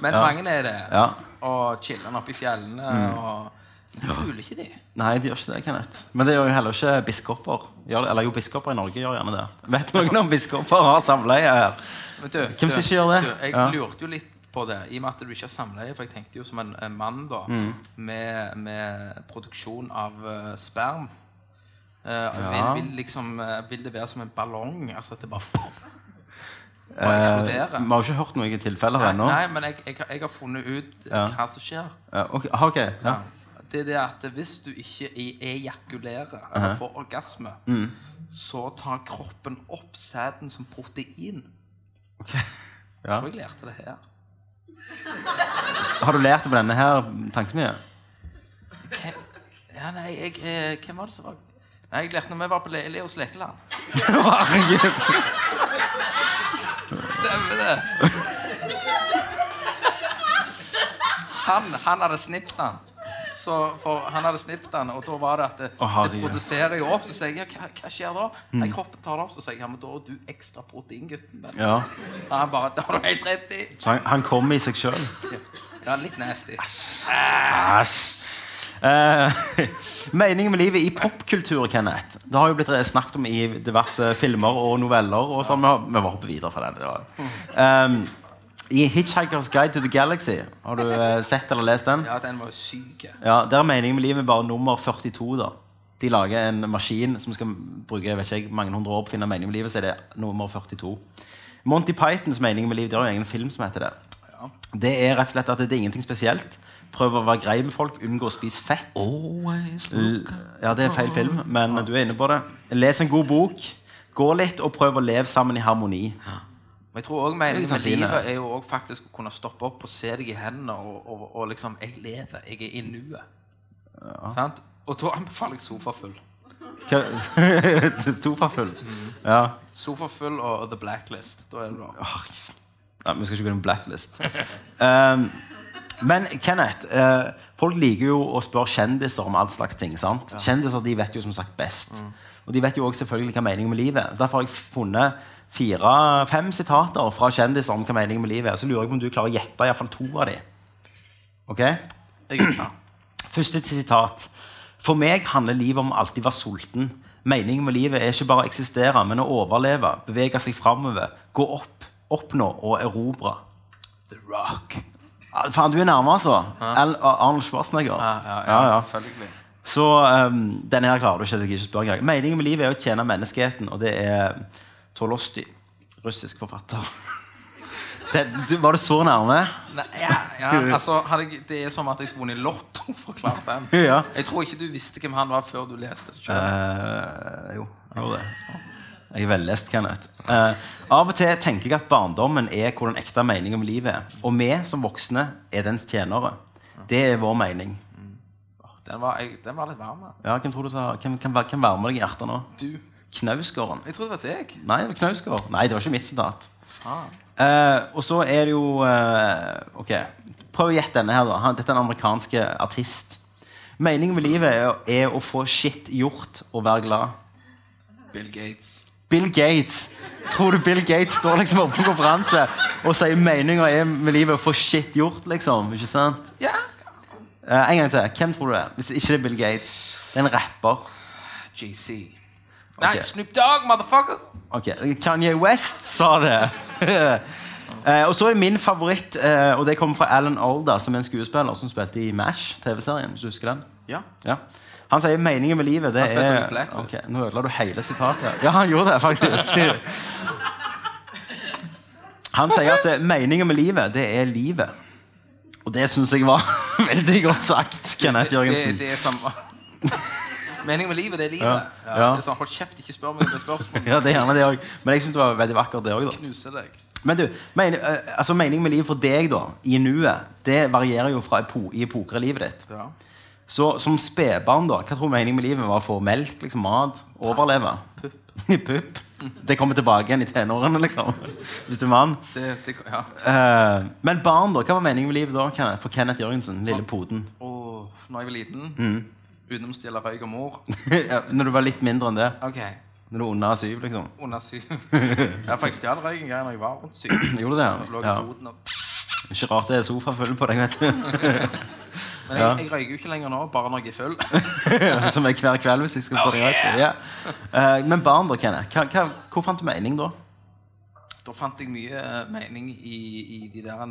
Speaker 6: Men mange er det.
Speaker 5: ja. Mm.
Speaker 6: Og chiller'n oppe i fjellene. Og de puler ikke, de.
Speaker 5: Nei, de gjør ikke det, Kenneth. Men det gjør jo heller ikke biskoper. Gjør det, eller jo, biskoper i Norge gjør gjerne det. Vet noen om biskoper har samleie her?
Speaker 6: Men du,
Speaker 5: Hvem som
Speaker 6: du,
Speaker 5: ikke gjør det?
Speaker 6: Du, jeg
Speaker 5: Ja.
Speaker 6: lurte jo litt på det, i og med at du ikke har samleie. For jeg tenkte jo som en, en mann da
Speaker 5: Mm.
Speaker 6: med, med produksjon av eh, sperm. Eh, vil, vil, liksom, eh, vil det være som en ballong? Altså at det bare,
Speaker 5: Eh,
Speaker 6: bare
Speaker 5: Vi
Speaker 6: eksploderer?
Speaker 5: har jo ikke hørt noen tilfeller ennå.
Speaker 6: Nei, men jeg, jeg, har- jeg har funnet ut eh,
Speaker 5: Ja.
Speaker 6: hva som skjer.
Speaker 5: Ja, ok, aha, ok, ja.
Speaker 6: Det er det at hvis du ikke e- ejakulerer eller får orgasme,
Speaker 5: Mm.
Speaker 6: så tar kroppen opp sæden som protein.
Speaker 5: Ja.
Speaker 6: Jeg tror jeg lærte det her.
Speaker 5: Har du lært det på denne her tankesmien?
Speaker 6: Hvem, ja, nei, jeg, eh, hvem var det som var Nei, Jeg lærte når vi var på Le Leos lekeland.
Speaker 5: Herregud.
Speaker 6: Stemmer det! Han, han hadde snipt den. Så for han hadde snipt den, og da var det at det,
Speaker 5: Å, herregud. Mm.
Speaker 6: det produserer jo opp. Så sier jeg ja, hva, hva skjer da? Nei, Kroppen tar det opp, så sier jeg ja, men da er du ekstra proteingutten. Men
Speaker 5: Ja.
Speaker 6: Han bare Det har du helt rett i!
Speaker 5: Så han, han kom i seg sjøl.
Speaker 6: Ja, litt nasty.
Speaker 5: Eh, meningen med livet i popkultur, Kenneth. Det har jo blitt snakket om i diverse filmer og noveller. og sånn. Vi har- Vi må hoppe videre fra det. det var.
Speaker 6: Mm.
Speaker 5: Ehm, I 'Hitchhiker's Guide to the Galaxy' har du eh, sett eller lest den?
Speaker 6: Ja, den var jo syk.
Speaker 5: Ja, Der er meningen med livet bare nummer 42. da De lager en maskin som skal bruke jeg vet ikke, jeg, mange hundre år på å finne meningen med livet. Så er det nummer 42 Monty Pythons mening med livet De har jo en egen film som heter det. Det er rett og slett at det er ingenting spesielt. Prøv å være grei med folk, unngå å spise fett. L- Ja, det er feil film, men du er inne på det. Les en god bok. Gå litt, og prøv å leve sammen i harmoni.
Speaker 6: Men jeg tror også meningen
Speaker 5: Det er
Speaker 6: med
Speaker 5: liksom fine.
Speaker 6: livet er jo også faktisk å kunne stoppe opp og se deg i hendene og, og, og liksom Jeg lever. Jeg er i nuet. Sant? Og da anbefaler jeg Sofa Full.
Speaker 5: Hva- Sofafull. Ja.
Speaker 6: Sofa Full og The Blacklist. Da er det bra.
Speaker 5: Nei, vi skal ikke gå inn på blacklist. Um, men Kenneth, eh, folk liker jo å spørre kjendiser om all slags ting. sant? Kjendiser de vet jo som sagt best. Og de vet jo også selvfølgelig hva meningen med livet er. Så Derfor har jeg funnet fire-fem sitater fra kjendiser om hva meningen med livet er. Så lurer jeg på om du klarer å gjette i hvert fall to av de. Ok?
Speaker 6: Jeg er klar.
Speaker 5: Første sitat. For meg handler livet om å alltid være sulten. Meningen med livet er ikke bare å eksistere, men å overleve, bevege seg framover, gå opp, oppnå og erobre.
Speaker 6: The Rock.
Speaker 5: Ah, Faen, du er nærme, altså. Al- Arnold Schwarzenegger.
Speaker 6: Ja, ja, ja,
Speaker 5: Ja, ja.
Speaker 6: selvfølgelig.
Speaker 5: Så um, denne her klarer du ikke. jeg skal ikke spørre engang. Meningen med livet er å tjene menneskeheten, og det er Tolosti, russisk forfatter. Det, du, var du så nærme?
Speaker 6: Nei, ja, ja, altså, hadde jeg, det er som at jeg skulle vunnet Lotto, forklart den.
Speaker 5: Ja.
Speaker 6: Jeg tror ikke du visste hvem han var før du leste det sjøl.
Speaker 5: Eh, jo, jeg gjorde det. Jeg er vellest, Kenneth. Eh, av og til tenker jeg at barndommen er hvor den ekte meningen med livet er. Og vi som voksne er dens tjenere. Det er vår mening.
Speaker 6: Den, var- jeg- den var litt varm. da.
Speaker 5: Ja, hvem tror du sa Hvem kan varme deg i hjertet nå?
Speaker 6: Du.
Speaker 5: Knausgården.
Speaker 6: Jeg trodde det var deg.
Speaker 5: Nei, det var Knausgård. Nei, det var ikke mitt sitat.
Speaker 6: Faen.
Speaker 5: Eh, og så er det jo eh, Ok, prøv å gjette denne her, da. Han, dette er en amerikansk artist. Meningen med livet er, å- er å få shit gjort og være glad.
Speaker 6: Bill Gates.
Speaker 5: Bill Gates. Tror du Bill Gates står liksom oppe på konferanse og sier meninga er med livet å få shit gjort, liksom? Ikke sant?
Speaker 6: Ja,
Speaker 5: Eh, en gang til. Hvem tror du det er? Hvis ikke det er Bill Gates. Det er en rapper.
Speaker 6: JC. Nei,
Speaker 5: Ok.
Speaker 6: Snoop Dogg, motherfucker!
Speaker 5: Ok, Kanye West sa det. Eh, og så er min favoritt, eh, og det kommer fra Alan Olda, som er en skuespiller som spilte i MASH, TV-serien. hvis du husker den
Speaker 6: Ja.
Speaker 5: Ja. Han sier meningen med livet det
Speaker 6: Han spilte
Speaker 5: er
Speaker 6: jo i Blacklist.
Speaker 5: Ok, Nå ødela du hele sitatet. Ja, han gjorde det, faktisk. Han sier at eh, meningen med livet, det er livet. Og det syns jeg var veldig godt sagt, Kenneth
Speaker 6: Det,
Speaker 5: Jørgensen.
Speaker 6: det er som Meningen med livet, det er livet.
Speaker 5: Ja.
Speaker 6: Ja,
Speaker 5: Ja.
Speaker 6: det er sånn, Hold kjeft, ikke spør meg om det er spørsmål.
Speaker 5: Ja, det er gjerne det også. Men jeg syns det var veldig vakkert, det òg.
Speaker 6: Knuse deg.
Speaker 5: Men du, men, eh, altså meningen med livet for deg da, i nuet, det varierer jo fra epo i epoker i livet ditt.
Speaker 6: Ja.
Speaker 5: Så som spedbarn, da, hva tror du meningen med livet var? å Få melk, liksom, mat, overleve? Pupp. Pupp. Det kommer tilbake igjen i tenårene, liksom. Hvis du er mann.
Speaker 6: Det, det, ja.
Speaker 5: Eh, men barn, da? Hva var meningen med livet da? Kenneth- For Kenneth Jørgensen, lille poden.
Speaker 6: Og når jeg var liten,
Speaker 5: Mm.
Speaker 6: utenom stjele røyk og mor
Speaker 5: Ja, Når du var litt mindre enn det?
Speaker 6: Ok,
Speaker 5: Når du var under syv, liksom?
Speaker 6: under syv. Ja, for jeg stjal røyk en gang da jeg var rundt syv.
Speaker 5: Gjorde du
Speaker 6: Lå
Speaker 5: det?
Speaker 6: i
Speaker 5: Ja.
Speaker 6: boden og...
Speaker 5: Ikke rart det er sofafull på deg, vet du.
Speaker 6: Men jeg, jeg røyker jo ikke lenger nå, bare når jeg er full.
Speaker 5: Som er hver kveld hvis jeg skal få deg
Speaker 6: Oh,
Speaker 5: rett. Ja. Eh, men barn, da, Kenneth. Hva, hva, hvor fant du mening da?
Speaker 6: Da fant jeg mye eh, mening i, i de der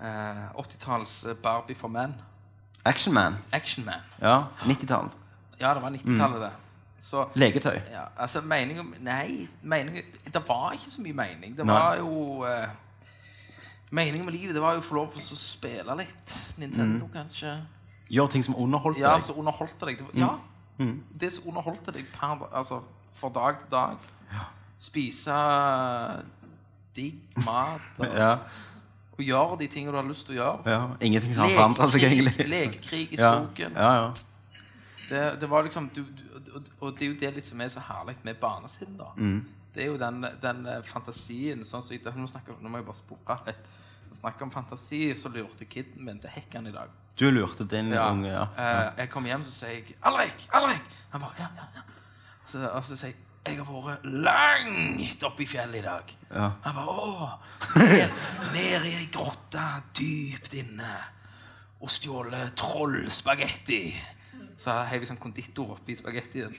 Speaker 6: eh, 80-talls eh, Barbie for menn.
Speaker 5: Action Man.
Speaker 6: Action Man.
Speaker 5: Ja, 90-tall.
Speaker 6: Ja, det var 90-tallet,
Speaker 5: Mm.
Speaker 6: det. Så
Speaker 5: Leketøy.
Speaker 6: ja, altså mening om- Nei, mening, det var ikke så mye mening. Det
Speaker 5: Nei.
Speaker 6: var jo eh, Meningen med livet det var jo å få lov til å spille litt. Nintendo, kanskje.
Speaker 5: Gjør ting som Mm. underholdt
Speaker 6: Ja,
Speaker 5: deg. Mm.
Speaker 6: så underholdt det deg. Det var, ja. Det som underholdt deg per, da- altså, fra dag til dag. Spise eh, digg mat. Og,
Speaker 5: Ja,
Speaker 6: og gjøre de tingene du har lyst til å gjøre.
Speaker 5: ja. Ingenting som har forandret seg,
Speaker 6: Lekekrig,
Speaker 5: egentlig.
Speaker 6: lekekrig i
Speaker 5: Ja,
Speaker 6: skogen.
Speaker 5: ja, ja.
Speaker 6: Det, det var liksom du, du, og- Og det er jo det litt som er så herlig med barnesinn, da. Det er jo den, den eh, fantasien sånn som, jeg- nå, snakker, nå må jeg bare spore litt. Når vi snakker om fantasi, så lurte kiden min til hekken i dag.
Speaker 5: Du lurte din
Speaker 6: Ja.
Speaker 5: unge, ja.
Speaker 6: Eh, jeg kom hjem, så sier jeg 'Alrik! Alrik!' Han bare 'Ja, ja, ja'. Så, og så sier jeg 'Jeg har vært langt oppe i fjellet i dag'.
Speaker 5: Ja.
Speaker 6: Han bare 'Å!' Ned, ned i ei grotte dypt inne og stjålet trollspagetti. Så heiv jeg sånn konditor oppi spagettien.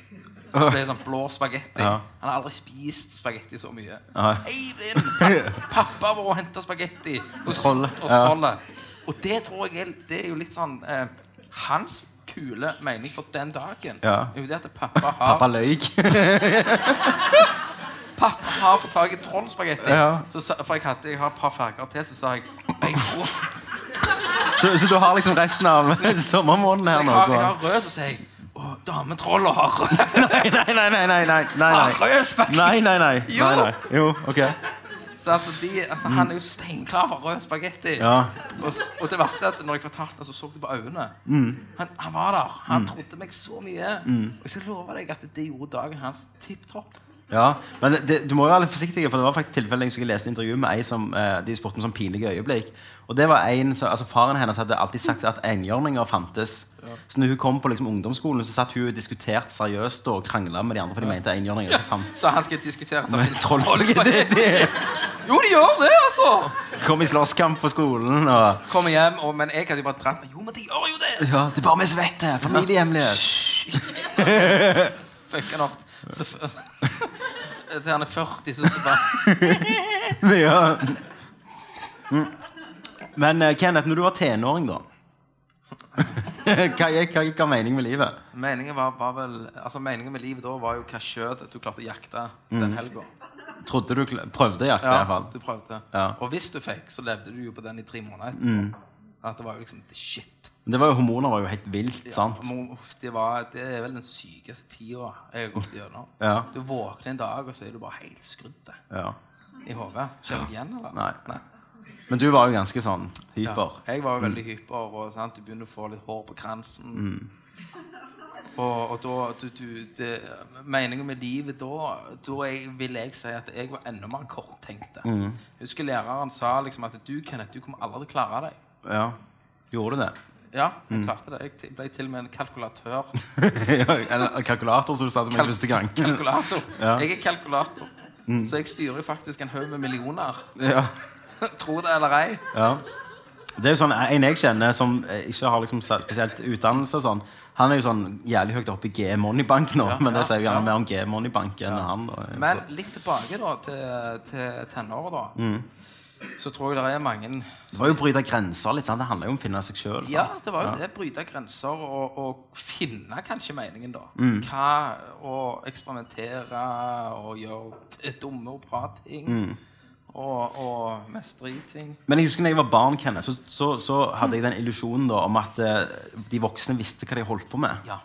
Speaker 6: Så ble det sånn blå spagetti.
Speaker 5: Ja.
Speaker 6: Han har aldri spist spagetti så mye.
Speaker 5: Nei.
Speaker 6: Heiv inn! Papp- Pappa var og henta spagetti hos
Speaker 5: Trollet.
Speaker 6: hos
Speaker 5: Ja.
Speaker 6: trollet. Og det tror jeg er, det er jo litt sånn eh, Hans kule mening for den dagen
Speaker 5: Ja.
Speaker 6: er jo det at pappa har
Speaker 5: Pappa løy.
Speaker 6: Pappa har fått tak i trollspagetti.
Speaker 5: Ja.
Speaker 6: Så sa- For jeg, hadde, jeg har et par farger til, så sa jeg Jeg, tror,
Speaker 5: Så, så du har liksom resten av sommermåneden her
Speaker 6: jeg,
Speaker 5: nå?
Speaker 6: har, jeg
Speaker 5: Kåre.
Speaker 6: har rød, så sier jeg Å, dametrolla har rød.
Speaker 5: Nei, nei, nei, nei, nei, nei,
Speaker 6: Har
Speaker 5: nei.
Speaker 6: rød spagetti.
Speaker 5: Nei, nei, nei.
Speaker 6: Ah, Jo.
Speaker 5: nei, nei. Jo, ok.
Speaker 6: Så altså, de, altså, han er jo steinklar for rød spagetti.
Speaker 5: Ja.
Speaker 6: Og, s- og det verste er at når jeg fortalte det, så så du på øynene.
Speaker 5: Mm.
Speaker 6: Han, han var der. Han trodde meg så mye. Og jeg skal love deg at det gjorde dagen hans tipp topp.
Speaker 5: Ja, men det, det, Du må jo være litt forsiktig, for det var faktisk tilfelle jeg skulle lese et intervju med ei som eh, de spurte om sånn pinlige øyeblikk. Og det var en som, altså Faren hennes hadde alltid sagt at enhjørninger fantes. Så når hun kom på liksom ungdomsskolen, så satt hun og diskuterte seriøst og krangla med de andre, for de mente enhjørninger ikke fantes.
Speaker 6: Så han skal diskutere at det finnes
Speaker 5: Trollspagetti, det,
Speaker 6: trollspagetti.
Speaker 5: det.
Speaker 6: Jo, de gjør det, altså!
Speaker 5: Kom i slåsskamp på skolen og
Speaker 6: Kommer hjem, og, men jeg hadde jo bare dratt meg. Jo, men de gjør jo det!
Speaker 5: Ja, det er bare vi som vet det! Familiehemmelighet.
Speaker 6: Fuck han opp. Så f Til han er 40, så, så bare
Speaker 5: Ja. Mm. Men eh, Kenneth, når du var tenåring, da hva gikk hva gikk av mening med livet?
Speaker 6: Meningen var, var vel Altså, meningen med livet da var jo hva skjøt du klarte å jakte
Speaker 5: Mm.
Speaker 6: den helga.
Speaker 5: Trodde du kl- prøvde å jakte? i hvert
Speaker 6: Ja,
Speaker 5: fall
Speaker 6: du prøvde.
Speaker 5: Ja. Mm.
Speaker 6: Og hvis du fikk, så levde du jo på den i tre måneder etterpå. At det var jo liksom the shit.
Speaker 5: Men Det var jo Hormoner var jo helt vilt, sant?
Speaker 6: Mo- uff, Det, var, det er vel den sykeste tida jeg har gått gjennom.
Speaker 5: Ja.
Speaker 6: Du våkner en dag, og så er du bare helt skrudd
Speaker 5: Ja.
Speaker 6: i hodet. Kjenner du igjen, eller?
Speaker 5: Nei. Men du var jo ganske sånn hyper.
Speaker 6: Jeg var jo veldig hyper, og sant? du begynner å få litt hår på kransen. Og, og da du, du, det, Meningen med livet da Da jeg, vil jeg si at jeg var enda mer korttenkt. Jeg Husker læreren sa liksom at du Kenneth, du kommer aldri til å klare deg.
Speaker 5: Ja. Gjorde du det?
Speaker 6: Ja, jeg klarte det. Jeg til- ble til og med en kalkulatør.
Speaker 5: Eller kalkulator, som du sa til meg første gang.
Speaker 6: Kalkulator. Jeg er kalkulator. Så jeg styrer jo faktisk en haug med millioner.
Speaker 5: Ja.
Speaker 6: Tro det eller ei.
Speaker 5: ja. Det er jo sånn, En jeg kjenner som eh, ikke har liksom sa- spesielt utdannelse og sånn, han er jo sånn jævlig høyt oppe i G Moneybank nå, men det sier jo gjerne
Speaker 6: ja.
Speaker 5: mer om G Moneybank enn han. Da.
Speaker 6: Men litt tilbake da til, til tenåret, da. Så tror jeg det er mange
Speaker 5: Det var jo å bryte grenser litt. sant? Det handler jo om å finne seg sjøl.
Speaker 6: Ja, det var jo det. Bryte grenser og, og finne kanskje meningen, da.
Speaker 5: Mm.
Speaker 6: Hva
Speaker 5: Mm.
Speaker 6: Å eksperimentere og gjøre t- dumme og bra ting. og, og mestre i ting.
Speaker 5: Men jeg husker når jeg var barn, Kenneth, så, så, så hadde jeg den illusjonen da, om at eh, de voksne visste hva de holdt på med.
Speaker 6: Ja.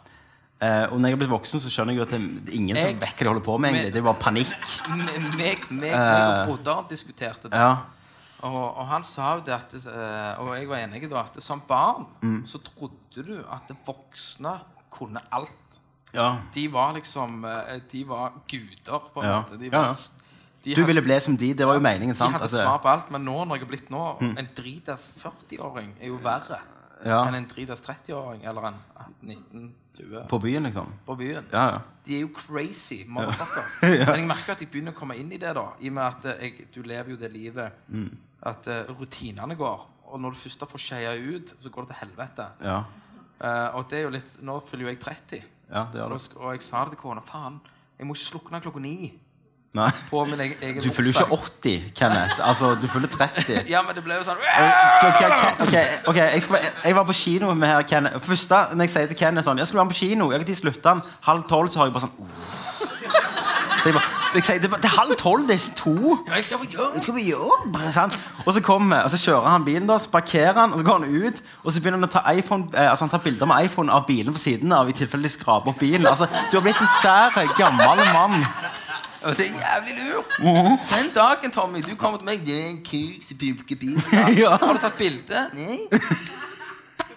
Speaker 5: Eh, og når jeg har blitt voksen, så skjønner jeg jo at det det er ingen
Speaker 6: Jeg-
Speaker 5: som vet hva de holder på med. egentlig. Det er bare panikk.
Speaker 6: Meg, meg, meg og broderen diskuterte det.
Speaker 5: Eh. Ja.
Speaker 6: Og, og han sa jo det at eh, Og jeg var enig da at som barn
Speaker 5: Mm.
Speaker 6: så trodde du at voksne kunne alt.
Speaker 5: Ja.
Speaker 6: De var liksom eh, De var guder, på en
Speaker 5: Ja.
Speaker 6: måte. De
Speaker 5: Ja,
Speaker 6: var,
Speaker 5: ja.
Speaker 6: s- de
Speaker 5: Du
Speaker 6: hadde-
Speaker 5: ville bli som de. Det var jo meningen, sant?
Speaker 6: De hadde
Speaker 5: At eh, det- Mm.
Speaker 6: svar på alt, men nå når jeg er blitt nå En dritas 40-åring er jo verre
Speaker 5: Ja.
Speaker 6: enn en dritas 30-åring eller en 1920 på,
Speaker 5: på byen, liksom.
Speaker 6: byen.
Speaker 5: Ja, ja.
Speaker 6: De er jo crazy motherfuckers. Men jeg merker at jeg begynner å komme inn i det, da. I og med at eh, jeg, du lever jo det livet
Speaker 5: Mm.
Speaker 6: at eh, rutinene går. Og når du først får skeia ut, så går det til helvete.
Speaker 5: Ja,
Speaker 6: Eh, og det er jo litt Nå fyller jo jeg 30,
Speaker 5: ja det gjør
Speaker 6: og,
Speaker 5: det.
Speaker 6: sk- og jeg sa det til kona. Faen, jeg må ikke slukne klokka ni
Speaker 5: Nei.
Speaker 6: på min egen, egen
Speaker 5: Du fyller jo
Speaker 6: bursdag.»
Speaker 5: ikke 80, Kenneth. Altså, du fyller 30.
Speaker 6: Ja, men det ble jo sånn
Speaker 5: Ok, ok, ok, ok, jeg, skal, være- jeg var på kino med her Ken. Først da, når jeg sier til Ken sånn, Jeg skulle være med på kino, jeg har tid slutta den Halv tolv, så har jeg bare sånn oh. Så jeg bare, jeg sier, det, er bare- det er halv tolv, det er ikke to
Speaker 6: «Ja, Jeg skal få gjøre
Speaker 5: Skal vi jobb? Sant? Og så kommer, og så kjører han bilen da, så parkerer han, og så går han ut Og så begynner han å ta iPhone eh, Altså han tar bilder med iPhone av bilen på siden av I tilfelle de skraper opp bilen Altså, du har blitt en sær, gammel mann
Speaker 6: Og det er jævlig lurt.
Speaker 5: Mhm.
Speaker 6: Den dagen, Tommy, du kommer til meg Det er en kuk som pimker bil. Ja.
Speaker 5: Ja.
Speaker 6: Har du tatt bilde? Nei.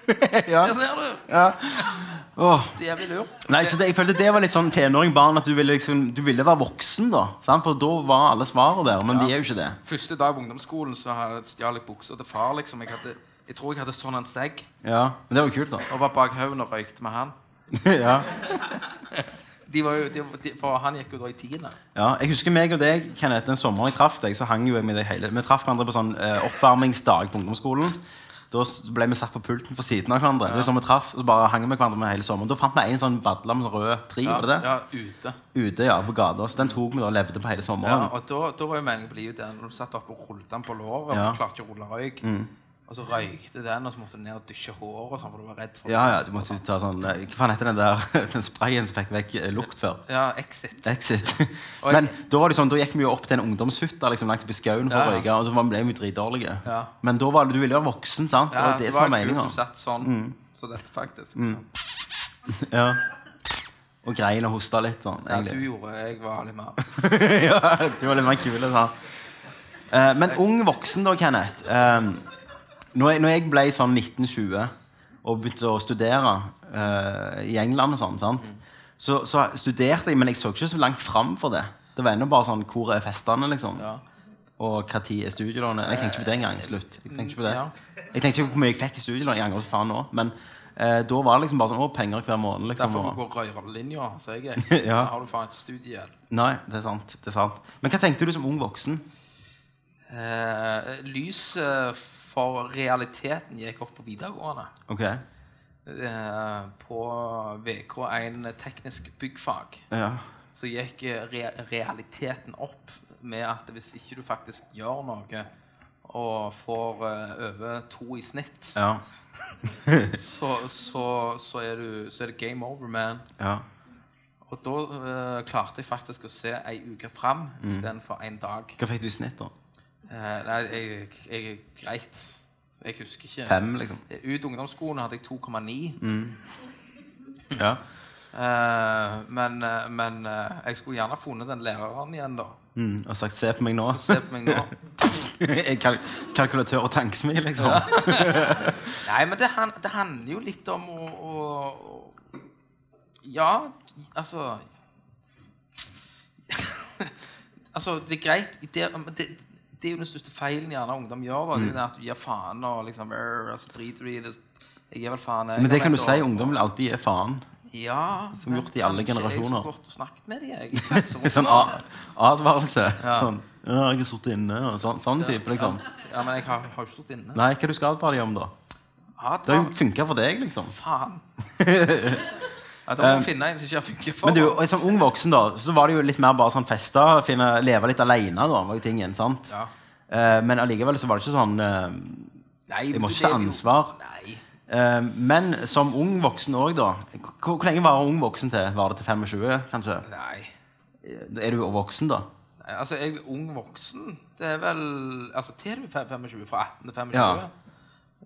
Speaker 5: Ja.
Speaker 6: Der ser du.
Speaker 5: Åh.
Speaker 6: Det er jævlig lurt.
Speaker 5: Nei, så det, jeg følte det var litt sånn tenåring-barn, at du ville, liksom, du ville være voksen, da. Sant? For da var alle svarene der, men de er jo ikke det.
Speaker 6: Første dag på ungdomsskolen så har jeg stjal jeg buksa til far. liksom. Jeg, hadde, jeg tror jeg hadde sånn en segg
Speaker 5: Ja, Men det var jo kult, da.
Speaker 6: og var bak haugen og røykte med han.
Speaker 5: ja.
Speaker 6: De var jo, de, de, for han gikk jo da i tiende.
Speaker 5: ja, Jeg husker meg og deg, Kenneth, den sommeren jeg traff deg, så hang jo jeg med deg hele Vi traff hverandre på sånn eh, oppvarmingsdag på ungdomsskolen. Da s- ble vi satt på pulten for siden av hverandre. Det er sånn vi traff, og så bare hang vi hverandre med hele sommeren. Da fant vi en sånn badla med sånn rød tri,
Speaker 6: Ja,
Speaker 5: var det det?
Speaker 6: ja ute.
Speaker 5: Ute, ja, på gata. Så den tok vi da og levde på hele
Speaker 6: Ja,
Speaker 5: sommeren.
Speaker 6: og da, da var jo meningen på livet den når du satt oppe og rullet den på låret.
Speaker 5: Ja. Mm.
Speaker 6: og klarte ikke å rulle røyk. Og så røykte den, og så måtte du ned og dusje håret, og sånn, for du var redd for
Speaker 5: Ja, ja, du måtte jo ta sånn eh, Hva faen heter den der den sprayen som fikk vekk eh, lukt før?
Speaker 6: Ja, Exit.
Speaker 5: Exit.
Speaker 6: Og
Speaker 5: Men
Speaker 6: jeg-
Speaker 5: da, var det sånn, da gikk vi jo opp til en ungdomshytte liksom, langt oppi skauen for
Speaker 6: Ja,
Speaker 5: å
Speaker 6: ja.
Speaker 5: røyke. Og da var- ble vi dritdårlige.
Speaker 6: Ja.
Speaker 5: Men da var det, du ville jo være voksen, sant? det var det, som var Mm.
Speaker 6: kult
Speaker 5: meninga.
Speaker 6: Du satt sånn. Så dette faktisk.
Speaker 5: Mm. Ja. Og grein og hosta litt sånn,
Speaker 6: Ja, du
Speaker 5: egentlig.
Speaker 6: gjorde jeg var litt mer
Speaker 5: Ja, du var litt mer kul. Sånn. Eh, men ung voksen, da, Kenneth. Eh, når, jeg, når jeg ble sånn 1920 og begynte å studere eh, i England og sånn, sant? Så, så studerte jeg, men jeg så ikke så langt fram for det. Det var ennå bare sånn Hvor er festene, liksom?
Speaker 6: Ja.
Speaker 5: Og hva tid er studielånet? Jeg tenkte ikke på det engang. Slutt. Jeg tenkte ikke på det.
Speaker 6: Ja.
Speaker 5: Jeg tenkte ikke på hvor mye jeg fikk i studielån. Jeg angrer for faen nå. Men eh, da var det liksom bare sånn Å, penger hver måned, liksom.
Speaker 6: Derfor
Speaker 5: Og...
Speaker 6: må du gå røyrlinja, sa jeg.
Speaker 5: Ja.
Speaker 6: Da har du faen ikke studiehjelp.
Speaker 5: Nei, det er sant. Det er sant. Men hva tenkte du som ung voksen?
Speaker 6: Eh, lyset for realiteten gikk opp på videregående.
Speaker 5: Ok.
Speaker 6: Eh, på VK1 teknisk byggfag
Speaker 5: Ja.
Speaker 6: så gikk eh, re realiteten opp med at hvis ikke du faktisk gjør noe og får eh, over to i snitt,
Speaker 5: Ja.
Speaker 6: så, så, så, er du, så er det game over, man.
Speaker 5: ja.
Speaker 6: Og da eh, klarte jeg faktisk å se ei uke fram istedenfor én dag.
Speaker 5: Hva fikk du i snitt, da?
Speaker 6: Eh, nei, jeg, jeg er greit. Jeg husker ikke.
Speaker 5: Fem, liksom?
Speaker 6: Ut ungdomsskolen hadde jeg 2,9. Mm.
Speaker 5: Ja.
Speaker 6: Eh, men eh, men eh, jeg skulle gjerne funnet den læreren igjen, da.
Speaker 5: Mm, og sagt 'se på meg nå'.
Speaker 6: Så se på meg nå.
Speaker 5: Jeg kalk kalkulatør og tankesmil, liksom.
Speaker 6: Nei, men det, han, det handler jo litt om å, å, å Ja, altså Altså, det er greit det, men det, det er jo den største feilen gjerne ungdom gjør. Da. Det er
Speaker 5: Mm.
Speaker 6: jo det at du gir faen og liksom «Arr», og så driter du i det. Jeg gir vel faen. jeg
Speaker 5: Men det
Speaker 6: har
Speaker 5: kan du
Speaker 6: vært
Speaker 5: si.
Speaker 6: og-
Speaker 5: Ungdom vil alltid gi faen.
Speaker 6: Ja,
Speaker 5: Som
Speaker 6: men
Speaker 5: gjort i alle
Speaker 6: kanskje Jeg
Speaker 5: generasjoner.
Speaker 6: skulle gått og snakket med dem, jeg. i
Speaker 5: Sånn
Speaker 6: klasserommet.
Speaker 5: a- advarelse. Sånn 'Ja, jeg har sittet inne', og sånn, sånn type, liksom.
Speaker 6: Ja, men jeg har, har jo ikke stått inne.
Speaker 5: Nei, hva du skal advare dem om, da?
Speaker 6: Ja,
Speaker 5: Det
Speaker 6: det
Speaker 5: har
Speaker 6: var
Speaker 5: jo funka for deg, liksom.
Speaker 6: faen. Ja, da må vi finne en som ikke har funket for.
Speaker 5: Men du, og som ung voksen da, så var det jo litt mer bare sånn feste, finne, leve litt alene da, var jo tingen, sant?
Speaker 6: Ja.
Speaker 5: Eh, men allikevel så var det ikke sånn, eh,
Speaker 6: Nei,
Speaker 5: jeg må
Speaker 6: men
Speaker 5: ikke
Speaker 6: det
Speaker 5: ta
Speaker 6: er jo-
Speaker 5: ansvar.
Speaker 6: Nei.
Speaker 5: Eh, men som ung voksen også da, hvor, hvor lenge var ung voksen til? Var det til 25, kanskje?
Speaker 6: Nei.
Speaker 5: Er du voksen da?
Speaker 6: Altså, jeg er ung voksen. Det er vel Altså, til du er 25, fra 18 til 25?
Speaker 5: Ja.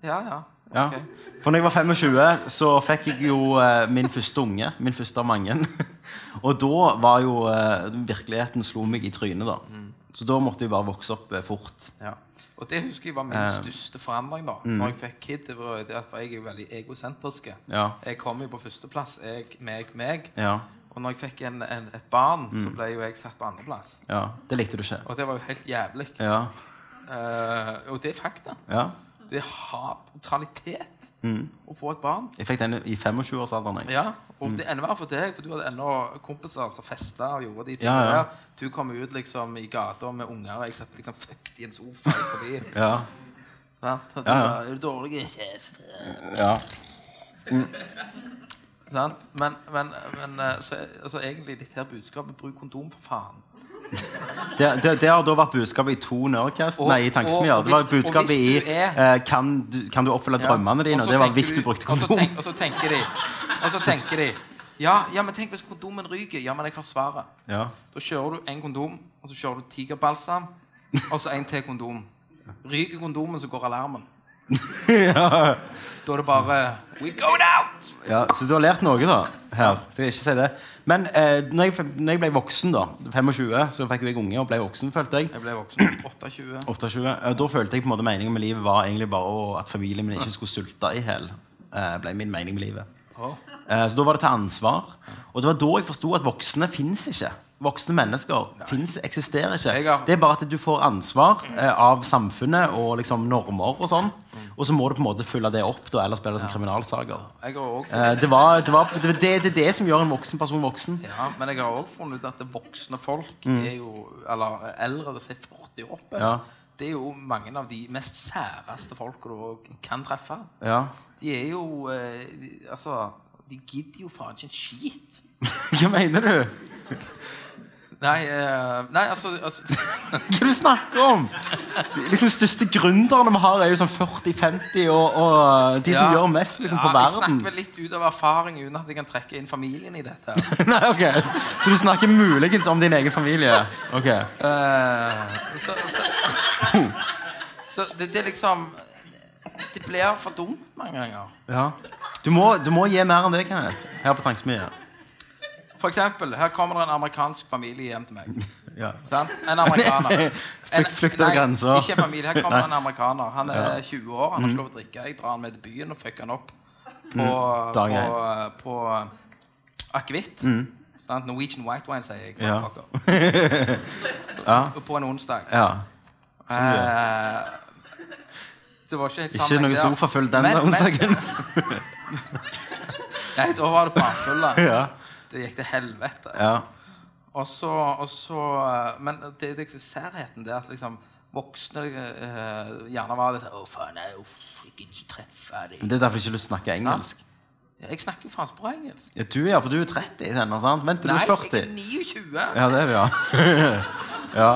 Speaker 6: ja. ja.
Speaker 5: Ja.
Speaker 6: Ok.
Speaker 5: For når jeg var 25, så fikk jeg jo eh, min første unge. Min første av mange. Og da var jo eh, Virkeligheten slo meg i trynet, da. Så da måtte jeg bare vokse opp eh, fort.
Speaker 6: Ja. Og det husker jeg var min største forandring
Speaker 5: Mm.
Speaker 6: da Når jeg fikk kid. Det var det at jeg er jo veldig egosentrisk.
Speaker 5: Ja.
Speaker 6: Jeg kom jo på førsteplass. Jeg, meg, meg.
Speaker 5: Ja,
Speaker 6: Og når jeg fikk en, en, et barn,
Speaker 5: Mm.
Speaker 6: så ble jo jeg satt på andreplass.
Speaker 5: ja. Det likte du ikke.
Speaker 6: Og det var jo helt jævlig.
Speaker 5: Ja.
Speaker 6: Eh, og det er fakta.
Speaker 5: ja.
Speaker 6: Det har brutalitet
Speaker 5: Mm.
Speaker 6: å få et barn.
Speaker 5: Jeg fikk den i 25-årsalderen. jeg.
Speaker 6: Ja, og
Speaker 5: Mm.
Speaker 6: det er enda verre for deg, for du hadde ennå kompiser som festa og gjorde de tingene
Speaker 5: Ja, ja.
Speaker 6: der. Du kom ut liksom i gata med unger, og jeg satt liksom fucked i en sofa forbi.
Speaker 5: Ja.
Speaker 6: ja, du
Speaker 5: Ja, ja.
Speaker 6: bare, Er du dårlig, sjef?
Speaker 5: ja.
Speaker 6: Sant? Men, men, men eh, så, altså, egentlig litt her budskapet bruk kondom, for faen.
Speaker 5: Det, det, det har da vært budskapet i to Nerdcast.
Speaker 6: Og-
Speaker 5: Nei, i
Speaker 6: og-
Speaker 5: Tankesmier.
Speaker 6: og
Speaker 5: Det var
Speaker 6: hvis- og
Speaker 5: budskapet i
Speaker 6: hvis du er-
Speaker 5: eh, kan, du, kan du oppfylle drømmene dine?
Speaker 6: Og så
Speaker 5: Det var
Speaker 6: tenker
Speaker 5: hvis du brukte
Speaker 6: og så
Speaker 5: kondom.
Speaker 6: tenk- Og så tenker de Og så tenker de ja, ja, men tenk hvis kondomen ryker. Ja, men jeg har svaret.
Speaker 5: Ja.
Speaker 6: Da kjører du en kondom, og så kjører du tigerbalsam, og så en til kondom. Ryker kondomen, så går alarmen. Da er det bare We go out!
Speaker 5: Ja, så du har lært noe, da. Her. Skal jeg ikke si det. Men eh, når, jeg, når jeg ble voksen, da, 25, så fikk jo jeg unge og ble voksen, følte jeg.
Speaker 6: Jeg ble voksen. 28.
Speaker 5: 28. Eh, Da følte jeg på en måte meningen med livet var egentlig bare å, at familien min ikke skulle sulte i hjel. Eh, ble min mening med livet. Eh, så da var det ta ansvar. Og det var da jeg forsto at voksne fins ikke. Voksne mennesker finnes, eksisterer
Speaker 6: Jeg
Speaker 5: ikke.
Speaker 6: har-
Speaker 5: Det er bare at du får ansvar eh, av samfunnet og liksom normer og sånn.
Speaker 6: Mm.
Speaker 5: Og så må du på en måte følge det opp, da, ellers blir det som kriminalsaker.
Speaker 6: Jeg har også funnet,
Speaker 5: Eh, Det, var, det, var, det, det, det er det som gjør en voksen person voksen.
Speaker 6: ja, men jeg har også funnet ut at det voksne folk er jo Eller eldre som er 40 år oppe.
Speaker 5: Ja.
Speaker 6: Det er jo mange av de mest særeste folka du også kan treffe.
Speaker 5: Ja.
Speaker 6: De er jo eh, de- Altså, de gidder jo faen ikke en skit.
Speaker 5: Hva mener du?
Speaker 6: Nei, eh, nei altså, altså
Speaker 5: Hva er det du snakker om? De liksom de største gründerne vi har, er jo sånn 40-50, og, og de som
Speaker 6: Ja.
Speaker 5: gjør mest liksom, på
Speaker 6: Ja, Jeg
Speaker 5: verden.
Speaker 6: snakker vel litt ut av erfaring uten at jeg kan trekke inn familien i dette. her.
Speaker 5: Nei, ok. Så du snakker muligens om din egen familie? Ok.
Speaker 6: Eh, så, så, så det, det er liksom Det blir for dumt mange ganger.
Speaker 5: Ja. Du, må, du må gi mer enn det, Kenneth. Her på Tankesmia.
Speaker 6: For eksempel, her kommer det en amerikansk familie hjem til meg.
Speaker 5: Ja.
Speaker 6: Sant? En amerikaner. En-
Speaker 5: Flukt- flukt over
Speaker 6: nei,
Speaker 5: grenser. Mm.
Speaker 6: Ikke en familie. Her kommer det en amerikaner. Han er 20 år, han har ikke lov å drikke. Jeg drar han med til byen og fucker han opp på, på,
Speaker 5: Dag Mm.
Speaker 6: på, akevitt. Sant? Norwegian white wine, sier jeg.
Speaker 5: Ja.
Speaker 6: motherfucker. Og På en onsdag.
Speaker 5: ja.
Speaker 6: Eh, det var ikke helt
Speaker 5: Ikke noe
Speaker 6: sammenheng der.
Speaker 5: sofafull den altså.
Speaker 6: Men- men-
Speaker 5: onsdagen.
Speaker 6: Nei, da var det barfulle.
Speaker 5: Ja.
Speaker 6: Det gikk til helvete.
Speaker 5: Ja.
Speaker 6: Og så, og så eh, Men det, det er særheten det er at liksom voksne eh, gjerne var litt sånn Å, faen, nei, uff, jeg gidder ikke treffe
Speaker 5: Men
Speaker 6: deg.
Speaker 5: Det er derfor jeg ikke har lyst til å snakke engelsk.
Speaker 6: Jeg snakker jo faen ikke bra engelsk.
Speaker 5: Ja, du, ja, for du er 30 ennå, sant? Vent til du
Speaker 6: Nei,
Speaker 5: er
Speaker 6: jeg
Speaker 5: 40.
Speaker 6: er 29.
Speaker 5: Ja, det er du, ja. ja.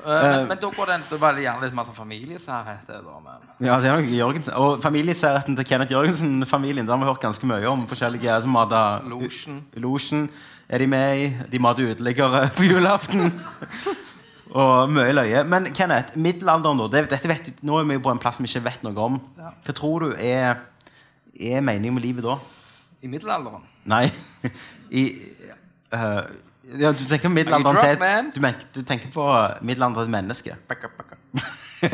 Speaker 6: Eh, men, men da går det, da var det gjerne litt mer sånn familiesærhet. det da, men.
Speaker 5: Ja, det er nok Jørgensen. Og familiesærheten til Kenneth Jørgensen-familien der har vi hørt ganske mye om. forskjellige som hadde...
Speaker 6: Losjen.
Speaker 5: Losjen er de med i. De mater uteliggere på julaften. Og mye løye. Men Kenneth, middelalderen, da. Det, dette vet, du- nå er vi jo på en plass vi ikke vet noe om. Hva tror du er, er meningen med livet da?
Speaker 6: I middelalderen.
Speaker 5: Nei I eh, ja, Du tenker middelalderen
Speaker 6: Are you drunk,
Speaker 5: til
Speaker 6: man?
Speaker 5: du, men- du tenker på middelalderen til et menneske.
Speaker 6: Bakka, bakka.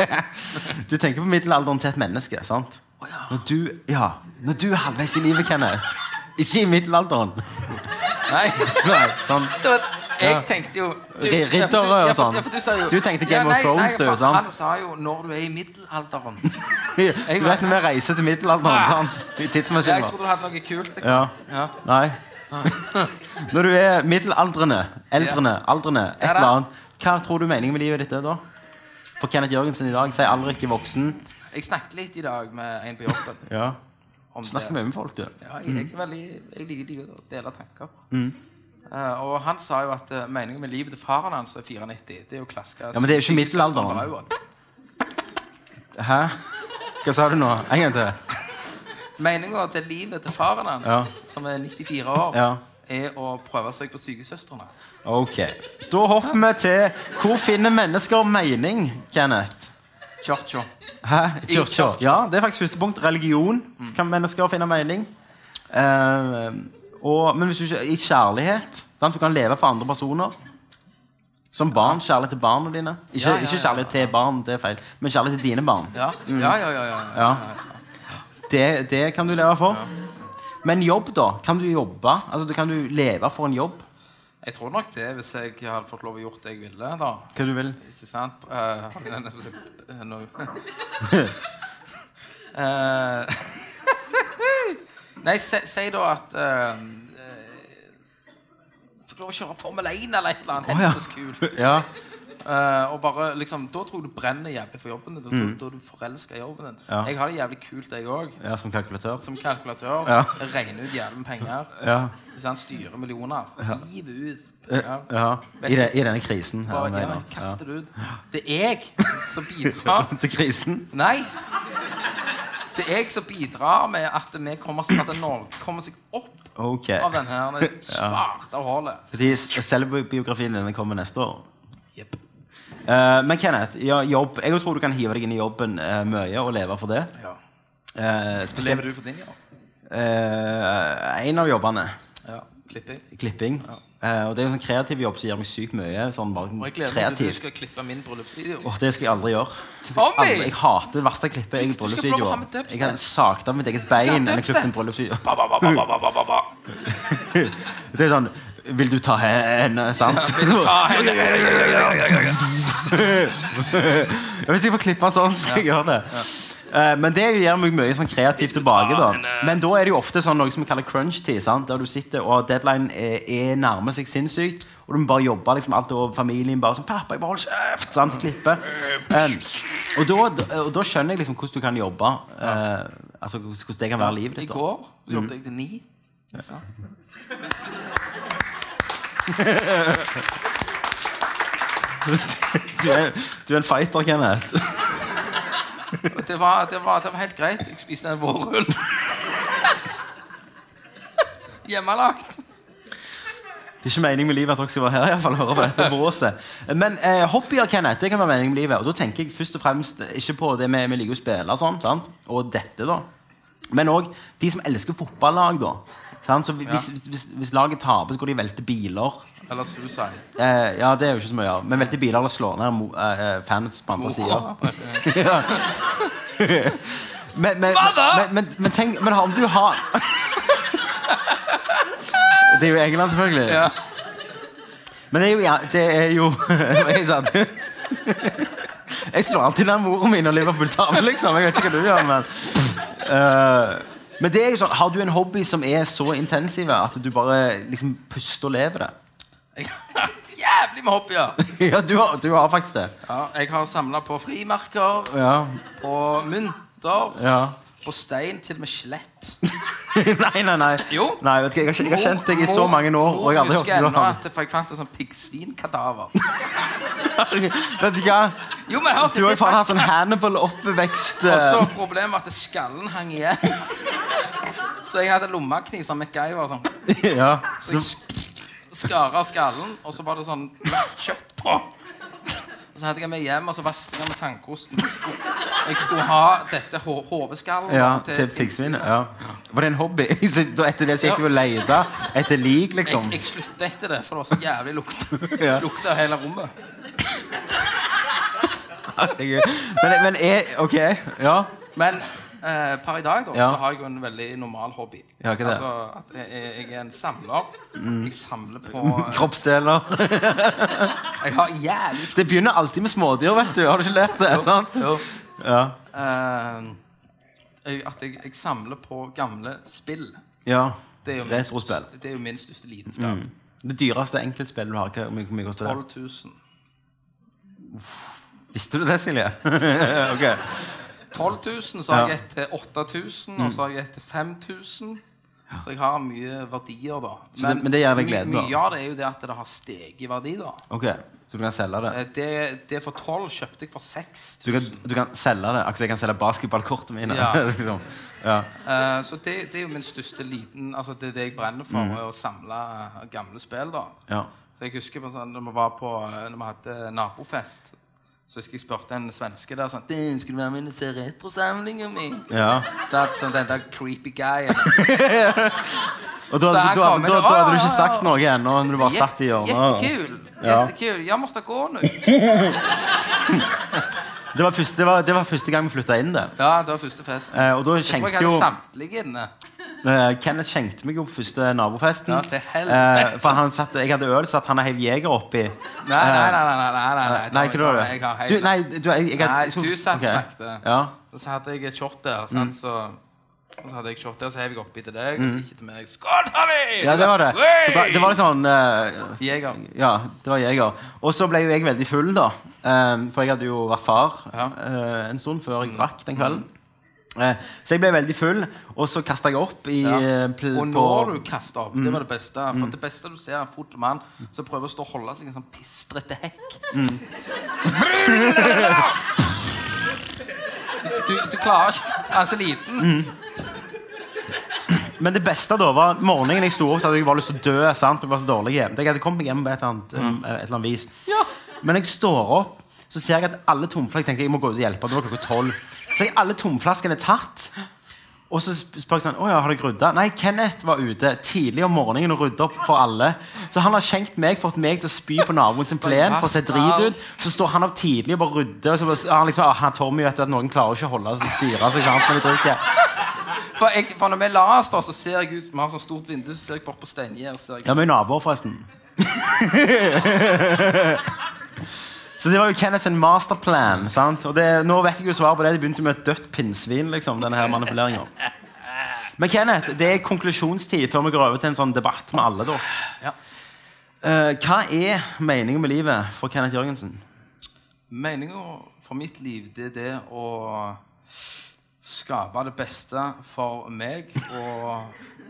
Speaker 5: Du tenker på middelalderen til et menneske, sant? Når du, ja, når du er halvveis i livet, Kenneth. Ikke i middelalderen.
Speaker 6: Nei,
Speaker 5: Nei, sånn.
Speaker 6: du vet, jeg
Speaker 5: Ja.
Speaker 6: tenkte jo du-
Speaker 5: Ri- riddere
Speaker 6: ja, for du- ja,
Speaker 5: og
Speaker 6: for-
Speaker 5: sånn.
Speaker 6: ja, for Du, sa jo-
Speaker 5: Du tenkte Game of
Speaker 6: nei,
Speaker 5: Thrones,
Speaker 6: nei,
Speaker 5: du,
Speaker 6: for
Speaker 5: sant?
Speaker 6: Han sa jo 'når du er i middelalderen'.
Speaker 5: Du vet når vi reiser til middelalderen, sant? I
Speaker 6: Ah. Jeg
Speaker 5: tidsmaskiner.
Speaker 6: trodde du hadde noe kult. Liksom.
Speaker 5: Ja.
Speaker 6: Ja.
Speaker 5: Nei. Når du er middelaldrende, eldrene, aldrene, et
Speaker 6: Ja da.
Speaker 5: eller annet, hva tror du meningen med livet ditt er da? For Kenneth Jørgensen i dag sier aldri ikke voksen.
Speaker 6: Jeg snakket litt i dag med en på jobben.
Speaker 5: Ja.
Speaker 6: om
Speaker 5: Snakk
Speaker 6: det.
Speaker 5: mye med folk, du.
Speaker 6: Ja, jeg, er veldig, jeg liker de å dele tanker.
Speaker 5: Mm.
Speaker 6: Eh, og han sa jo at eh, meningen med livet til faren hans er 94. Det er jo klaska.
Speaker 5: Ja, men det er jo ikke middelalderen. Hæ? Hva sa du nå? En gang til.
Speaker 6: Meninga til livet til faren hans,
Speaker 5: Ja.
Speaker 6: som er 94 år,
Speaker 5: Ja.
Speaker 6: er å prøve seg på Sykesøstrene.
Speaker 5: Ok. Da hopper vi til Hvor finner mennesker mening, Kenneth?
Speaker 6: Churcho.
Speaker 5: Hæ?
Speaker 6: I Mm. kirka.
Speaker 5: Ja, det er faktisk første punkt. Religion. Kan mennesker finne mening? Eh, og, men hvis du ikke I kjærlighet. Sant? Du kan leve for andre personer. Som barn. Kjærlighet til barna dine. Ikke,
Speaker 6: Ja, ja,
Speaker 5: ikke
Speaker 6: ja,
Speaker 5: kjærlighet til barn, det er feil. Men kjærlighet til dine barn.
Speaker 6: Ja, ja, ja. ja, ja.
Speaker 5: Ja. Det, det kan du leve for. Men jobb, da? Kan du jobbe? Altså, du- kan du leve for en jobb?
Speaker 6: Jeg tror nok det, hvis jeg hadde fått lov å gjort det jeg ville, da.
Speaker 5: Hva du vil?
Speaker 6: Ikke sant? Eh, hadde jeg nevnt- eh, nå- Eh, Nei, si si da at eh, eh, Fikk lov å kjøre Formel 1 eller et eller annet.
Speaker 5: ja.
Speaker 6: Helvetes kult.
Speaker 5: Ja.
Speaker 6: Eh, og bare, liksom, da tror jeg du brenner jævlig for jobben din. Da, da, da er du forelsker i jobben din.
Speaker 5: Mm. Ja.
Speaker 6: Jeg har det jævlig kult, jeg òg.
Speaker 5: ja, som kalkulatør.
Speaker 6: Som kalkulatør.
Speaker 5: Ja.
Speaker 6: Jeg regner ut jævlig med penger.
Speaker 5: Ja.
Speaker 6: Hvis han styrer millioner. Hiver ut
Speaker 5: Ja. Eh,
Speaker 6: penger.
Speaker 5: I, de, I denne krisen. her,
Speaker 6: Bare
Speaker 5: mener
Speaker 6: ja,
Speaker 5: jeg.
Speaker 6: kaster det ut. Det er jeg som bidrar.
Speaker 5: Til krisen?
Speaker 6: Nei. Det er jeg som bidrar med at vi kommer oss- at Norge kommer seg opp
Speaker 5: Ok.
Speaker 6: av den her svarte hullet.
Speaker 5: Fordi s- selvbiografien din kommer neste år.
Speaker 6: Jepp.
Speaker 5: Eh, men Kenneth, ja, jobb. jeg tror du kan hive deg inn i jobben eh, mye og leve for det.
Speaker 6: Ja.
Speaker 5: Eh, spesielt
Speaker 6: Lever du for din jobb?
Speaker 5: eh, en av jobbene.
Speaker 6: Ja. Klipper jeg.
Speaker 5: Klipping. Eh, og det er en sånn kreativ jobb som gir meg sykt mye. Sånn
Speaker 6: Og
Speaker 5: bare
Speaker 6: jeg gleder meg til du
Speaker 5: kreativ.
Speaker 6: skal klippe min bryllupsvideo.
Speaker 5: Åh, det skal jeg aldri gjøre.
Speaker 6: Tommy!
Speaker 5: Aldri, jeg hater det verste klippet jeg i
Speaker 6: Du skal få lov å ha
Speaker 5: bryllupsvideoer.
Speaker 6: med døpsted.
Speaker 5: Jeg kan sakte av mitt eget bein
Speaker 6: ha
Speaker 5: enn jeg
Speaker 6: døpsted.
Speaker 5: klippet en bryllupsvideo.
Speaker 6: Ba, ba, ba, ba, ba, ba, ba, ba.
Speaker 5: Det er sånn Vil du ta henne? Sant?
Speaker 6: Ta henne.
Speaker 5: Ja, Hvis jeg får klippe sånn, så skal jeg gjøre det. Eh, men det gir meg mye sånn kreativt tilbake. da Men da er det jo ofte sånn noe som vi kaller crunch-tid. sant? Der du sitter og deadline er, er nærmer seg sinnssykt, og du må bare jobbe liksom alt over familien bare sånn 'Pappa, jeg bare holder kjeft!' sant? og Klippe. Em, og, da, og da skjønner jeg liksom hvordan du kan jobbe. eh, altså hvordan det kan være livet
Speaker 6: I
Speaker 5: ditt. da
Speaker 6: går jobbet jeg til ni. Sant?
Speaker 5: Du er, du er en fighter, Kenneth.
Speaker 6: Og Det var, det, var, det var helt greit. Jeg spiste en vårrull. Hjemmelagt.
Speaker 5: Det er ikke meningen med livet at dere skal være her. i hvert fall, og høre på dette bråset. Men eh, hobbyer Kenneth, det kan være meningen med livet. Og da tenker jeg først og fremst ikke på det med vi liker å spille og sånn, sant? og dette, da. Men òg de som elsker fotballag, da. Sant? Så hvis, hvis, hvis laget taper, så går de og velter biler.
Speaker 6: Eller suicide.
Speaker 5: Eh, ja, det er jo ikke så mye av. Men velter biler eller slår ned mo- eh, eh, fans på andre sider. Ja. Men, men, men, men, men tenk Men om du har Det er jo England, selvfølgelig.
Speaker 6: Ja.
Speaker 5: Men det er jo ja, Det er jo Jeg sa det. Jeg slår alltid ned moren min når Liverpool taper, liksom. Jeg vet ikke hva du gjør, men Eh, Men det er jo sånn Har du en hobby som er så intensiv at du bare liksom puster og lever det?
Speaker 6: Jævlig med hobbyer!
Speaker 5: Ja, du har, du har faktisk det.
Speaker 6: Ja, jeg har samla på frimerker,
Speaker 5: Ja.
Speaker 6: på mynter,
Speaker 5: ja.
Speaker 6: på stein, til og med skjelett.
Speaker 5: nei, nei, nei.
Speaker 6: Jo.
Speaker 5: Nei, vet du, hva, jeg, har, kjent- jeg har kjent deg i så mange år. Og jeg har aldri hørt
Speaker 6: husker
Speaker 5: du
Speaker 6: ennå
Speaker 5: har-
Speaker 6: at for jeg fant en sånn piggsvinkadaver.
Speaker 5: Vet du hva?
Speaker 6: Jo, men hør
Speaker 5: Du har
Speaker 6: til
Speaker 5: jo
Speaker 6: det
Speaker 5: faen hatt
Speaker 6: faktisk
Speaker 5: sånn Hannibal-oppvekst.
Speaker 6: Og så
Speaker 5: eh,
Speaker 6: problemet at skallen hang igjen. Så jeg hadde lommekniv som MacGyver. Sånn.
Speaker 5: eh, Ja.
Speaker 6: Så jeg skar av skallen, og så var det sånn kjøtt på. Og så hadde jeg med hjem, og så vasket jeg med tankosten. Jeg skulle, jeg skulle ha dette ho- hodeskallen
Speaker 5: ja
Speaker 6: til-
Speaker 5: til piggsvinet. Ja. Var det en hobby? Så da etter det så gikk du og leita etter lik,
Speaker 6: Jeg,
Speaker 5: liksom?
Speaker 6: jeg sluttet etter det, for det var så jævlig lukt
Speaker 5: Ja.
Speaker 6: Lukta av hele rommet.
Speaker 5: Men, men er OK. Ja.
Speaker 6: Men eh, per i dag da,
Speaker 5: Ja.
Speaker 6: så har jeg jo en veldig normal hobby.
Speaker 5: Ja, hva er det? Mm.
Speaker 6: Altså, at jeg, jeg jeg er en samler. Jeg samler på eh,
Speaker 5: Kroppsdeler.
Speaker 6: Jeg har jævlig
Speaker 5: Det begynner alltid med smådyr, vet du. Har du ikke lært det? sant?
Speaker 6: Jo.
Speaker 5: Ja.
Speaker 6: Eh, jeg, at jeg, jeg samler på gamle spill.
Speaker 5: ja.
Speaker 6: Det er jo min,
Speaker 5: Retrospill.
Speaker 6: største- det er jo min største lidenskap.
Speaker 5: Mm, Det dyreste enkeltspillet du har. Hva, hvor mye- hvor mye koster det?
Speaker 6: 12 000.
Speaker 5: Visste du det, Silje? ok.
Speaker 6: 12 000, så har
Speaker 5: Ja.
Speaker 6: jeg et til 8000, og så har jeg et til 5000. Så jeg har mye verdier, da.
Speaker 5: Så det- men det gir deg glede, da?
Speaker 6: da? Mye av det er jo det at det har steget i verdi, da.
Speaker 5: Ok, Så du kan selge det?
Speaker 6: Eh, Det, det for 12 kjøpte jeg for 6000.
Speaker 5: Du kan, du kan selge det? Akkurat som jeg kan selge basketballkortene mine?
Speaker 6: Ja.
Speaker 5: liksom. ja.
Speaker 6: Eh, så det, det er jo min største liten Altså det er det jeg brenner
Speaker 5: Mm.
Speaker 6: for, er å samle eh, gamle spill, da.
Speaker 5: Ja.
Speaker 6: Så jeg husker på sånn, når vi var på eh, Når vi hadde nabofest, så husker jeg spurte en svenske der sånn 'Du, 'Skal du være med og se retrosamlinga mi?'
Speaker 5: ja.
Speaker 6: Satt sånn den der creepy guyen.
Speaker 5: Og da,
Speaker 6: Så her
Speaker 5: da, da,
Speaker 6: kommer
Speaker 5: da,
Speaker 6: det-
Speaker 5: hadde du
Speaker 6: Ja, ja,
Speaker 5: ikke
Speaker 6: ja.
Speaker 5: sagt noe ennå? Når du bare satt i hjørnet?
Speaker 6: Jättekul!
Speaker 5: Ja.
Speaker 6: Jättekul. Jag måste gå nu.
Speaker 5: Det var, første, det, var, det var første gang vi flytta inn det.
Speaker 6: Ja, det var første festen.
Speaker 5: Eh, og da
Speaker 6: Jeg tror jeg
Speaker 5: skjenkte
Speaker 6: hadde
Speaker 5: jo
Speaker 6: samtlige inne.
Speaker 5: eh, Kenneth skjenkte meg jo på første nabofesten.
Speaker 6: Ja, til helvete.
Speaker 5: Eh, for han satt, jeg hadde øl, så at han heiv jeger oppi.
Speaker 6: Nei, nei, nei. nei, nei, nei, nei,
Speaker 5: Nei, ikke du det?
Speaker 6: Jeg har
Speaker 5: Du,
Speaker 6: helt...
Speaker 5: nei, du, jeg, jeg,
Speaker 6: Nei,
Speaker 5: jeg skulle-
Speaker 6: du satt
Speaker 5: ok.
Speaker 6: snakket.
Speaker 5: Ja.
Speaker 6: Så hadde jeg et shot der,
Speaker 5: Mm.
Speaker 6: sant? Så, og så hadde jeg et shot der, så hev jeg oppi til deg, og så ikke til meg. Skål, Tommy!
Speaker 5: ja, det var det. Så da, det var litt sånn eh,
Speaker 6: Jeger.
Speaker 5: Ja, det var jeger. Og så ble jo jeg veldig full, da. Eh, for jeg hadde jo vært far
Speaker 6: Ja. Mm.
Speaker 5: eh, en stund før jeg drakk den kvelden. Eh, så jeg ble veldig full, og så kasta jeg opp i
Speaker 6: Ja.
Speaker 5: eh, pl-
Speaker 6: Og
Speaker 5: på-
Speaker 6: når du kaster opp, det var det beste. For det beste du ser er en fotomann som prøver å stå og holde seg i en sånn pistrete hekk. Du, du klarer ikke Han er så liten.
Speaker 5: Men det beste da var morgenen jeg sto opp, så hadde jeg bare lyst til å dø. sant? Jeg var så dårlig hjem. Jeg hadde kommet meg hjem på et eller annet, um, et eller annet vis. Men jeg står opp, så ser jeg at alle tomflasker tenker jeg må gå ut og hjelpe. Det var klokka tolv. Så jeg, alle tomflaskene er tatt. Og så sp- spør jeg sånn, «Å ja, har dere rydda? Nei, Kenneth var ute tidlig om morgenen og rydda opp for alle. Så han har skjenkt meg, fått meg til å spy på naboen sin plen. for å se drit ut. Så står han opp tidlig og bare rydder. Og så bare, han liksom, «Ah, han er Tommy, vet du, at noen klarer ikke å holde seg styre seg. sant, når de drikker».
Speaker 6: For, jeg, for når vi la oss, da, så ser jeg ut Vi har sånn stort vindu, så ser jeg bort på steingjerdet. så ser jeg-
Speaker 5: Ja, vi er naboer, forresten. Så det var jo Kenneth sin masterplan. sant? Og det, nå vet jeg jo svaret på det. Det begynte med et dødt pinnsvin. liksom, denne her manipuleringen. Men Kenneth, det er konklusjonstid før vi går over til en sånn debatt med alle. dere.
Speaker 6: Ja.
Speaker 5: Eh, hva er meningen med livet for Kenneth Jørgensen?
Speaker 6: Meninga for mitt liv, det er det å skape det beste for meg og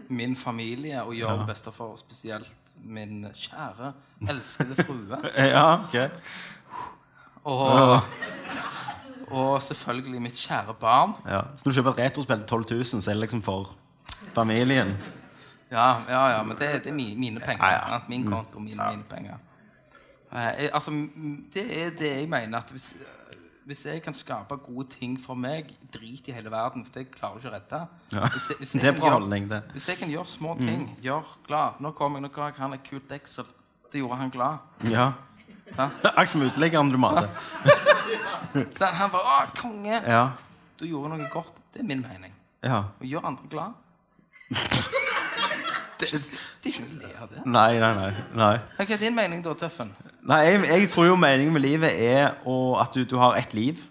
Speaker 6: min familie, og gjøre det beste for spesielt min kjære, elskede frue.
Speaker 5: Eh, Ja, ok.
Speaker 6: Og, og selvfølgelig mitt kjære barn.
Speaker 5: Ja. Så når du kjøper et retrospill til 12 000, så er det liksom for familien?
Speaker 6: Ja, ja, ja men det, det er mi- mine penger.
Speaker 5: Ja, Mm. ja.
Speaker 6: sant? Min konto, mine, mine penger. Eh, jeg, altså, m- det er det jeg mener. At hvis, hvis jeg kan skape gode ting for meg, drit i hele verden, for det klarer du ikke å redde.
Speaker 5: Ja.
Speaker 6: Hvis jeg- hvis
Speaker 5: Det
Speaker 6: jeg
Speaker 5: er
Speaker 6: kan
Speaker 5: bra
Speaker 6: gjøre-
Speaker 5: holdning, det. Mm.
Speaker 6: Hvis jeg kan gjøre små ting, gjør glad Nå kom jeg, nå ga jeg han et kult deksel. Det gjorde han glad.
Speaker 5: Ja.
Speaker 6: Sant?
Speaker 5: Akkurat som uteliggeren du mater.
Speaker 6: Så han bare 'Å, konge!'
Speaker 5: Ja.
Speaker 6: Du gjorde noe godt. Det er min mening.
Speaker 5: ja.
Speaker 6: Å gjøre andre glad. det, det er ikke noe å le av det.
Speaker 5: Nei, nei, nei. nei.
Speaker 6: Hva er din mening da, Tøffen?
Speaker 5: Nei, jeg, jeg tror jo meningen med livet er å, at du, du har ett liv.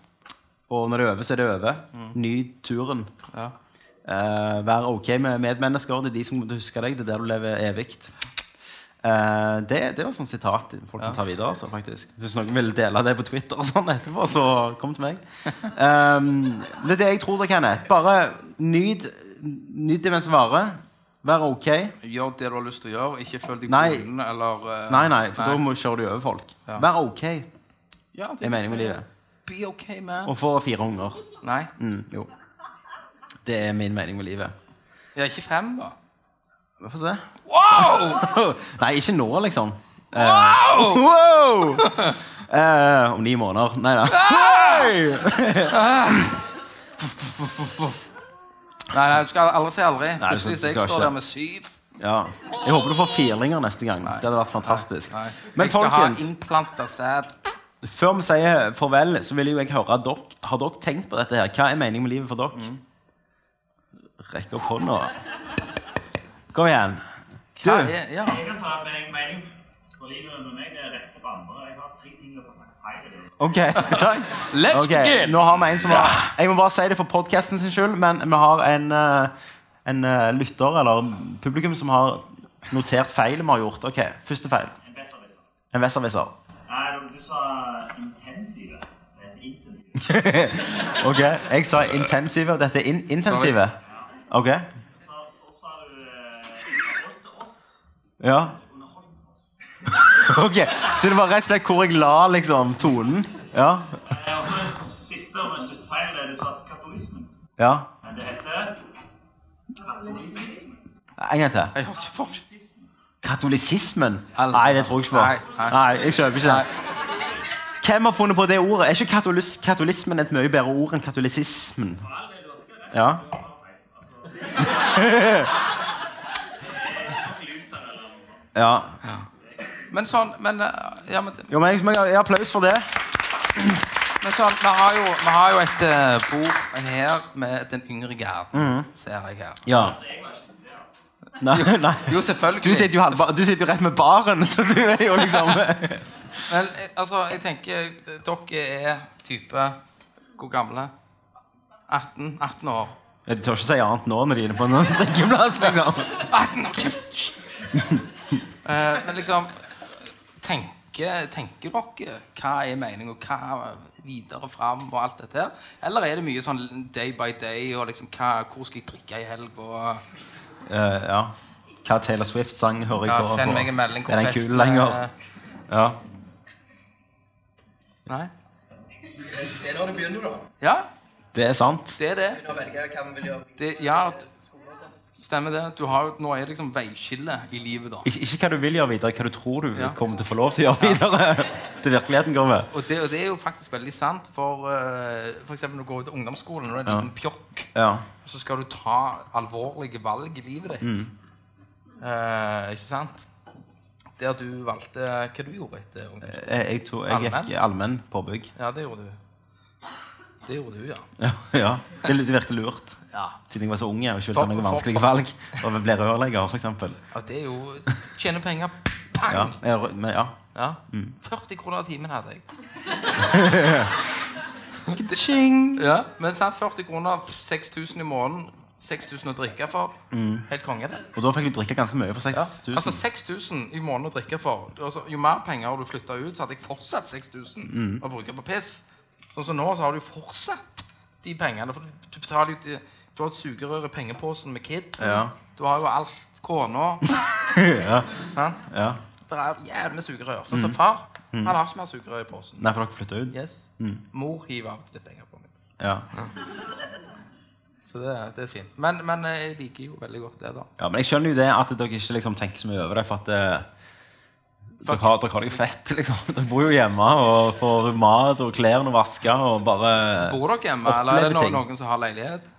Speaker 5: Og når det er over, så er det over. Nyt turen.
Speaker 6: Ja.
Speaker 5: Eh, vær ok med medmennesker. Det er de som kommer til å huske deg. Det er der du lever evig. Eh, det, det var sånn sitat folk kan ta videre. Altså, faktisk. Hvis noen vil dele det på Twitter, og sånn etterpå, så kom til meg. Um, det er det jeg tror det, Kenneth. Bare nyt nyt det mens det varer. Vær ok.
Speaker 6: Gjør det du har lyst til å gjøre. Ikke føl deg
Speaker 5: Nei.
Speaker 6: bunden eller eh,
Speaker 5: Nei, nei, for da må, kjører du over folk.
Speaker 6: Ja.
Speaker 5: Vær ok, er
Speaker 6: ja, det
Speaker 5: meningen med livet.
Speaker 6: Be ok, man.
Speaker 5: Og få fire unger.
Speaker 6: Nei.
Speaker 5: Mm, jo. Det er min mening med livet.
Speaker 6: Ja, ikke fem, da.
Speaker 5: Vi får se.
Speaker 6: Wow!
Speaker 5: Nei, ikke nå, liksom. wow! wow! Eh, om ni måneder. Nei da.
Speaker 6: Nei, nei, du skal aldri si aldri.
Speaker 5: Nei, du skal- du
Speaker 6: Plutselig så
Speaker 5: skal
Speaker 6: jeg står
Speaker 5: ikke.
Speaker 6: der med syv.
Speaker 5: Ja. Jeg håper du får firlinger neste gang. Det hadde vært fantastisk.
Speaker 6: Nei.
Speaker 5: Men
Speaker 6: jeg skal
Speaker 5: folkens,
Speaker 6: ha innplanta sæd.
Speaker 5: før vi sier farvel, så vil jo jeg høre dere. Har dere tenkt på dette her? Hva er meningen med livet for dere?
Speaker 6: Mm.
Speaker 5: Rekk opp hånda. Kom igjen. Du,
Speaker 6: Hva er- Ja.
Speaker 7: Jeg kan ta med en mening for livet med meg. Det er rette på andre. Jeg har tre ting jeg har sagt feil. i dag.
Speaker 5: OK. Takk.
Speaker 6: Let's
Speaker 5: Ok, nå har vi en som har Jeg må bare si det for podcasten sin skyld Men vi har en, eh, en eh, lytter Eller publikum som har notert feil vi har gjort Ok, første feil
Speaker 7: En besserwisser.
Speaker 5: En vesservisser
Speaker 7: Nei, du sa intensive. Det heter intensive.
Speaker 5: Ok, jeg sa intensive og Dette er in intensive Ok,
Speaker 7: Så, så sa du eh,
Speaker 5: Ja. Ok, Så det var rett og slett hvor jeg la liksom tonen? Ja.
Speaker 7: Eh, Og så det siste og min største feil er du sa katolismen.
Speaker 5: ja.
Speaker 7: Men det heter katolisisme.
Speaker 5: En gang til.
Speaker 6: Jeg har ikke folk.
Speaker 5: Katolisismen?
Speaker 6: Eller-
Speaker 5: Nei, det tror jeg ikke på.
Speaker 6: Nei, nei.
Speaker 5: jeg kjøper ikke det. Hvem har funnet på det ordet? Er ikke katolis katolismen et mye bedre ord enn katolisismen? Ja. ja.
Speaker 6: Men sånn men, eh, ja, men,
Speaker 5: Jo, men jeg, men jeg jeg har applaus for det.
Speaker 6: men sånn, vi har jo, vi har jo et eh, bord her med den yngre garden,
Speaker 5: Mm.
Speaker 6: ser jeg her.
Speaker 5: Ja. Nei, nei.
Speaker 6: Jo, selvfølgelig.
Speaker 5: Du sitter, jo, halv- du sitter jo rett med baren, så du er jo liksom
Speaker 6: Men eh, altså, jeg tenker eh, Dere er type Hvor gamle? 18? 18 år.
Speaker 5: Jeg tør ikke si annet nå når de er inne på en drikkeplass. liksom.
Speaker 6: 18 år, kjeft! Hysj! Eh, Men liksom tenker, tenker dere hva er meningen, og hva videre fram, og alt dette her? Eller er det mye sånn day by day, og liksom hva, hvor skal jeg drikke i helg, og
Speaker 5: Eh, ja. Hva Taylor Swift-sang hører jeg
Speaker 6: ja,
Speaker 5: på?
Speaker 6: send meg en melding
Speaker 5: Er den
Speaker 6: festen eh,
Speaker 5: kul lenger?
Speaker 6: er-
Speaker 5: Ja.
Speaker 6: Nei? Det er da det begynner, da. Ja,
Speaker 5: Det er sant.
Speaker 6: det er det. det ja, du- stemmer det. Du har, jo- nå er det liksom veiskille i livet, da.
Speaker 5: Ikke, ikke hva du vil gjøre videre, hva du tror du
Speaker 6: Ja.
Speaker 5: kommer til å få lov til å gjøre videre. Til virkeligheten kommer.
Speaker 6: Og det, og det er jo faktisk veldig sant, for eh, for eksempel når du går ut av ungdomsskolen og er en liten pjokk,
Speaker 5: Ja.
Speaker 6: så skal du ta alvorlige valg i livet ditt.
Speaker 5: Mm.
Speaker 6: Eh, ikke sant? Der du valgte Hva du gjorde etter ungdomsskolen?
Speaker 5: Jeg, jeg, tror, jeg gikk i allmenn påbygg.
Speaker 6: Ja, det gjorde du. Det gjorde du, ja.
Speaker 5: Ja, ja. Det, det virket lurt.
Speaker 6: Ja,
Speaker 5: Siden jeg var så unge og ikke ville
Speaker 6: For-
Speaker 5: ta noen
Speaker 6: for-
Speaker 5: vanskelige
Speaker 6: for-
Speaker 5: valg. Og ble rørlegger, for eksempel.
Speaker 6: Det er jo Tjene penger. Pang!
Speaker 5: Ja. Mm. jeg rø- Men, ja.
Speaker 6: Ja. 40 kroner timen hadde jeg.
Speaker 5: Tjing!
Speaker 6: Ja, Men sant, 40 kroner, 6000 i måneden, 6000 å drikke for. Helt konge, det.
Speaker 5: Og da fikk du drikke ganske mye for
Speaker 6: Ja.
Speaker 5: 6000.
Speaker 6: Altså 6000 i måneden å drikke for. Altså, jo mer penger du flytta ut, så hadde jeg fortsatt 6000 å bruke på piss. Sånn som nå, så har du jo fortsatt de pengene. For du- du betaler jo til Du har et sugerør i pengeposen med Kid.
Speaker 5: Ja.
Speaker 6: Du har jo alt. Kona. Sant?
Speaker 5: ja.
Speaker 6: Det er jævlig med sugerør. Sånn som far. Han har ikke mer sugerør i posen.
Speaker 5: Nei, for dere flytta ut?
Speaker 6: Yes. Mor hiver av og til penger på meg.
Speaker 5: Ja.
Speaker 6: Så det, det er fint. Men, men eh, jeg liker jo veldig godt det, da.
Speaker 5: ja. Men jeg skjønner jo det at dere ikke liksom tenker så mye over det, for at eh, dere har, dere har det jo fett, liksom. Dere bor jo hjemme og får mat og klærne vaska og bare
Speaker 6: Bor dere hjemme, eller er det
Speaker 5: Opplever
Speaker 6: noen,
Speaker 5: ting.
Speaker 6: noen som har leilighet?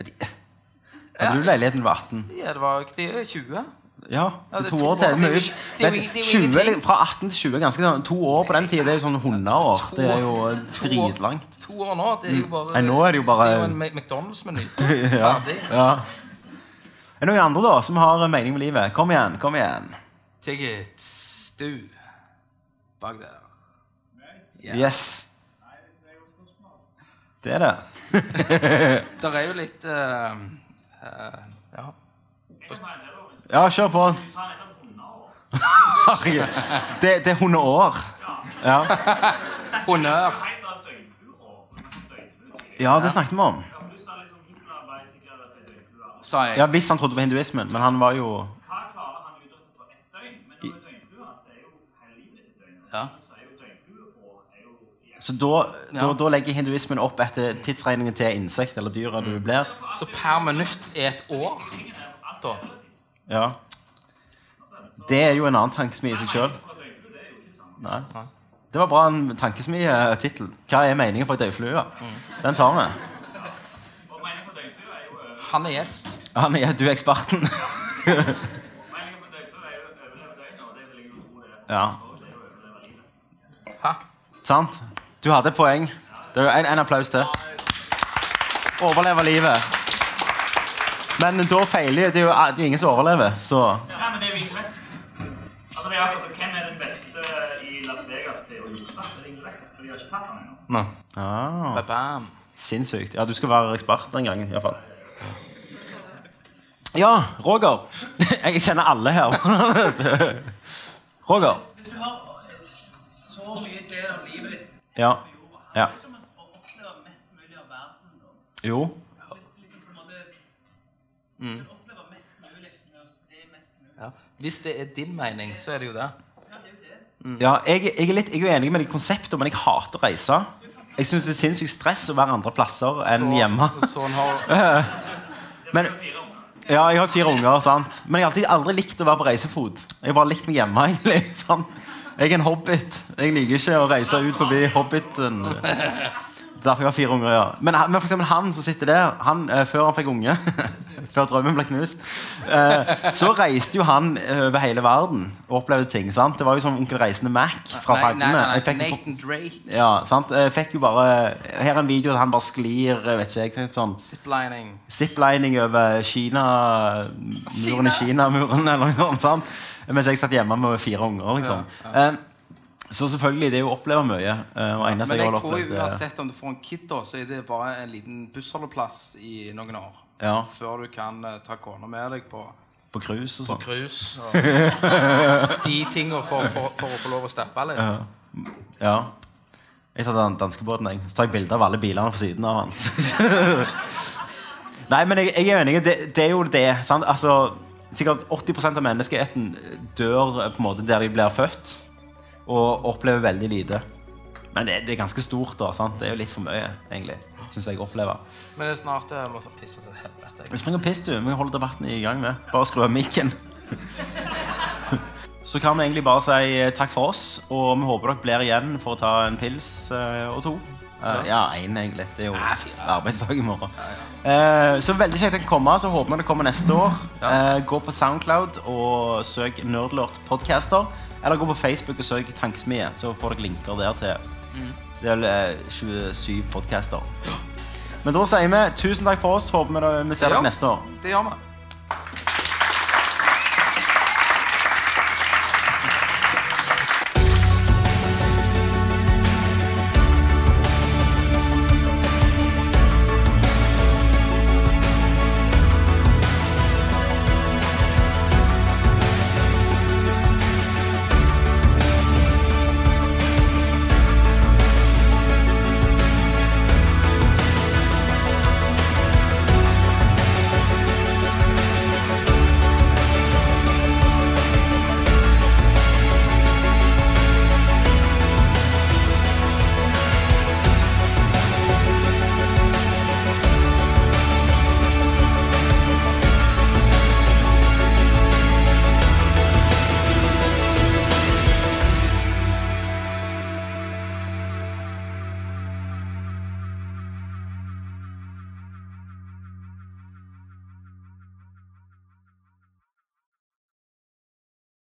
Speaker 5: Hadde du leiligheten du var 18?
Speaker 6: Ja, det var de er 20.
Speaker 5: Ja, det
Speaker 6: det
Speaker 5: er
Speaker 6: er
Speaker 5: to
Speaker 6: to
Speaker 5: år til.
Speaker 6: år.
Speaker 5: Det er
Speaker 6: Det er
Speaker 5: mye-
Speaker 6: jo- det er jo-
Speaker 5: Vent,
Speaker 6: det er jo
Speaker 5: 20,
Speaker 6: ingenting.
Speaker 5: eller fra 18 til 20 er ganske sånn To år på den tida, det er jo sånn 100 år. Det er jo
Speaker 6: To år-
Speaker 5: dritlangt. Mm.
Speaker 6: To år nå, det er jo bare
Speaker 5: Nei, nå er det jo bare-
Speaker 6: en Mc- McDonald's-meny. Ferdig.
Speaker 5: Ja. Er det noen andre da som har eh, mening med livet? Kom igjen. kom igjen
Speaker 6: Take it. Du bak der.
Speaker 5: Yes. Det er det.
Speaker 6: Der er jo litt eh, eh, Ja.
Speaker 5: Ja, kjør på.
Speaker 7: Du sa nettopp hundeår.
Speaker 5: Herregud. Det, det er hundeår. Ja.
Speaker 6: Honnør.
Speaker 7: Helt av døgnfluer. Du kan få døgnfluer tidlig.
Speaker 5: ja, det snakket vi om.
Speaker 7: Ja, for Du sa liksom Hitler ble sikkert at det er døgnfluer.
Speaker 6: Sa jeg.
Speaker 5: Ja, Hvis han trodde på hinduismen, men han var jo
Speaker 7: Hva klarer han utrette på ett døgn? Men når det er døgnfluer, så er jo hele livet et døgn.
Speaker 6: Ja.
Speaker 7: Så er jo døgnflueår er jo igjen.
Speaker 5: Så da, da, da legger hinduismen opp etter tidsregningen til insekt eller dyret du blir.
Speaker 6: Så per minutt er et år. Da.
Speaker 5: Ja. Det er jo en annen tankesmi i seg sjøl. Det var bra en tankesmi-tittel. Hva er meningen for ei dødflue? Den tar vi.
Speaker 7: Og meningen for døgnfluer er jo øh, over-
Speaker 6: Han er gjest.
Speaker 5: Han er, du er eksperten.
Speaker 7: meningen for døgnfluer er jo å overleve døgnet, og det vil jeg jo tro det er.
Speaker 5: Ja,
Speaker 7: Det er jo å overleve livet.
Speaker 6: Hæ?
Speaker 5: sant? Du hadde et poeng. Det er jo en, en applaus til. Overleve livet. Men da feiler det er jo eh, det er jo ingen som overlever, så
Speaker 7: Ja, men det er jo ingen som vet. Altså, det er akkurat, som, hvem er den beste i Las Vegas til å jukse? Det er ingen som vet, for de har ikke tatt han ennå.
Speaker 6: Nå.
Speaker 5: ah,
Speaker 6: Ba-bam.
Speaker 5: Sinnssykt. Ja, du skal være ekspert en gang, iallfall. Ja, Roger. Jeg kjenner alle her. Roger.
Speaker 7: Hvis du har så mye glede av livet ditt
Speaker 5: Ja. Ja.
Speaker 7: som å oppleve mest mulig av verden, da.
Speaker 5: Jo.
Speaker 7: Hvis du liksom på en måte mm. opplever mest mulig med å se mest mulig
Speaker 6: Ja. Hvis det er din mening, så er det jo det.
Speaker 5: Ja, jeg, jeg er litt jeg er uenig med det konseptet, men jeg hater å reise. Jeg syns det er sinnssykt stress å være andre plasser enn
Speaker 6: Så-
Speaker 5: hjemme.
Speaker 6: Så han har
Speaker 5: Men, ja, jeg har fire unger, sant. Men jeg har alltid aldri likt å være på reisefot. Jeg har bare likt meg hjemme, egentlig. Sånn. Jeg er en hobbit. Jeg liker ikke å reise ut forbi hobbiten. Det er Derfor jeg har fire unger, ja. Men, han- men for eksempel han som sitter der, han, eh, før han fikk unge Før drømmen ble knust, eh, så reiste jo han eh, over hele verden og opplevde ting. sant? Det var jo som Onkel Reisende Mac fra
Speaker 6: Nei, nei,
Speaker 5: Paddene.
Speaker 6: nei,
Speaker 5: Jeg fikk
Speaker 6: nei,
Speaker 5: jo på-
Speaker 6: Nathan Drake.
Speaker 5: Ja, sant? Jeg fikk jo bare Her er en video der han bare sklir, eh, vet ikke jeg, sånn
Speaker 6: Ziplining.
Speaker 5: ziplining over Kina Muren i Kina-muren eller noe sånt. sant? Mens jeg satt hjemme med fire unger. liksom. Eh, Så selvfølgelig, det er jo å oppleve mye. eh, Og eneste
Speaker 6: Men
Speaker 5: jeg
Speaker 6: jeg
Speaker 5: har
Speaker 6: tror jo
Speaker 5: opplevd eh,
Speaker 6: uansett om du får en kid, da, så er det bare en liten bussholdeplass i noen år.
Speaker 5: Ja.
Speaker 6: Før du kan eh, ta kona med deg på
Speaker 5: på cruise og sånn.
Speaker 6: krus og de tinga for, for, for å få lov å steppe litt.
Speaker 5: Ja. Jeg tar den danskebåten, jeg. Så tar jeg bilder av alle bilene fra siden av han. Nei, men jeg, jeg er enig. Det, det er jo det. sant? Altså, sikkert 80 av menneskeheten dør eh, på en måte der de blir født, og opplever veldig lite. Men det, det er ganske stort, da. sant? Det er jo litt for mye, egentlig. Synes jeg opplever.
Speaker 6: Men det er snart jeg må så pisse til helvete. jeg.
Speaker 5: Vi springer og piss, du. Vi holder debatten i gang med. Bare skru av mikken. Så kan vi egentlig bare si eh, takk for oss, og vi håper dere blir igjen for å ta en pils eh, og to. Eh, Ja, én, egentlig. Det er jo arbeidsdag i morgen. Eh, Så veldig kjekt at dere kommer. Så håper vi det kommer neste år. Eh, Gå på Soundcloud og søk Nerdlort podcaster. Eller gå på Facebook og søk Tankesmie, så får dere linker der til det er vel eh, 27 podcaster. Men da sier vi tusen takk for oss. Håper vi, vi ser
Speaker 6: Ja.
Speaker 5: dere neste år.
Speaker 6: Det gjør vi.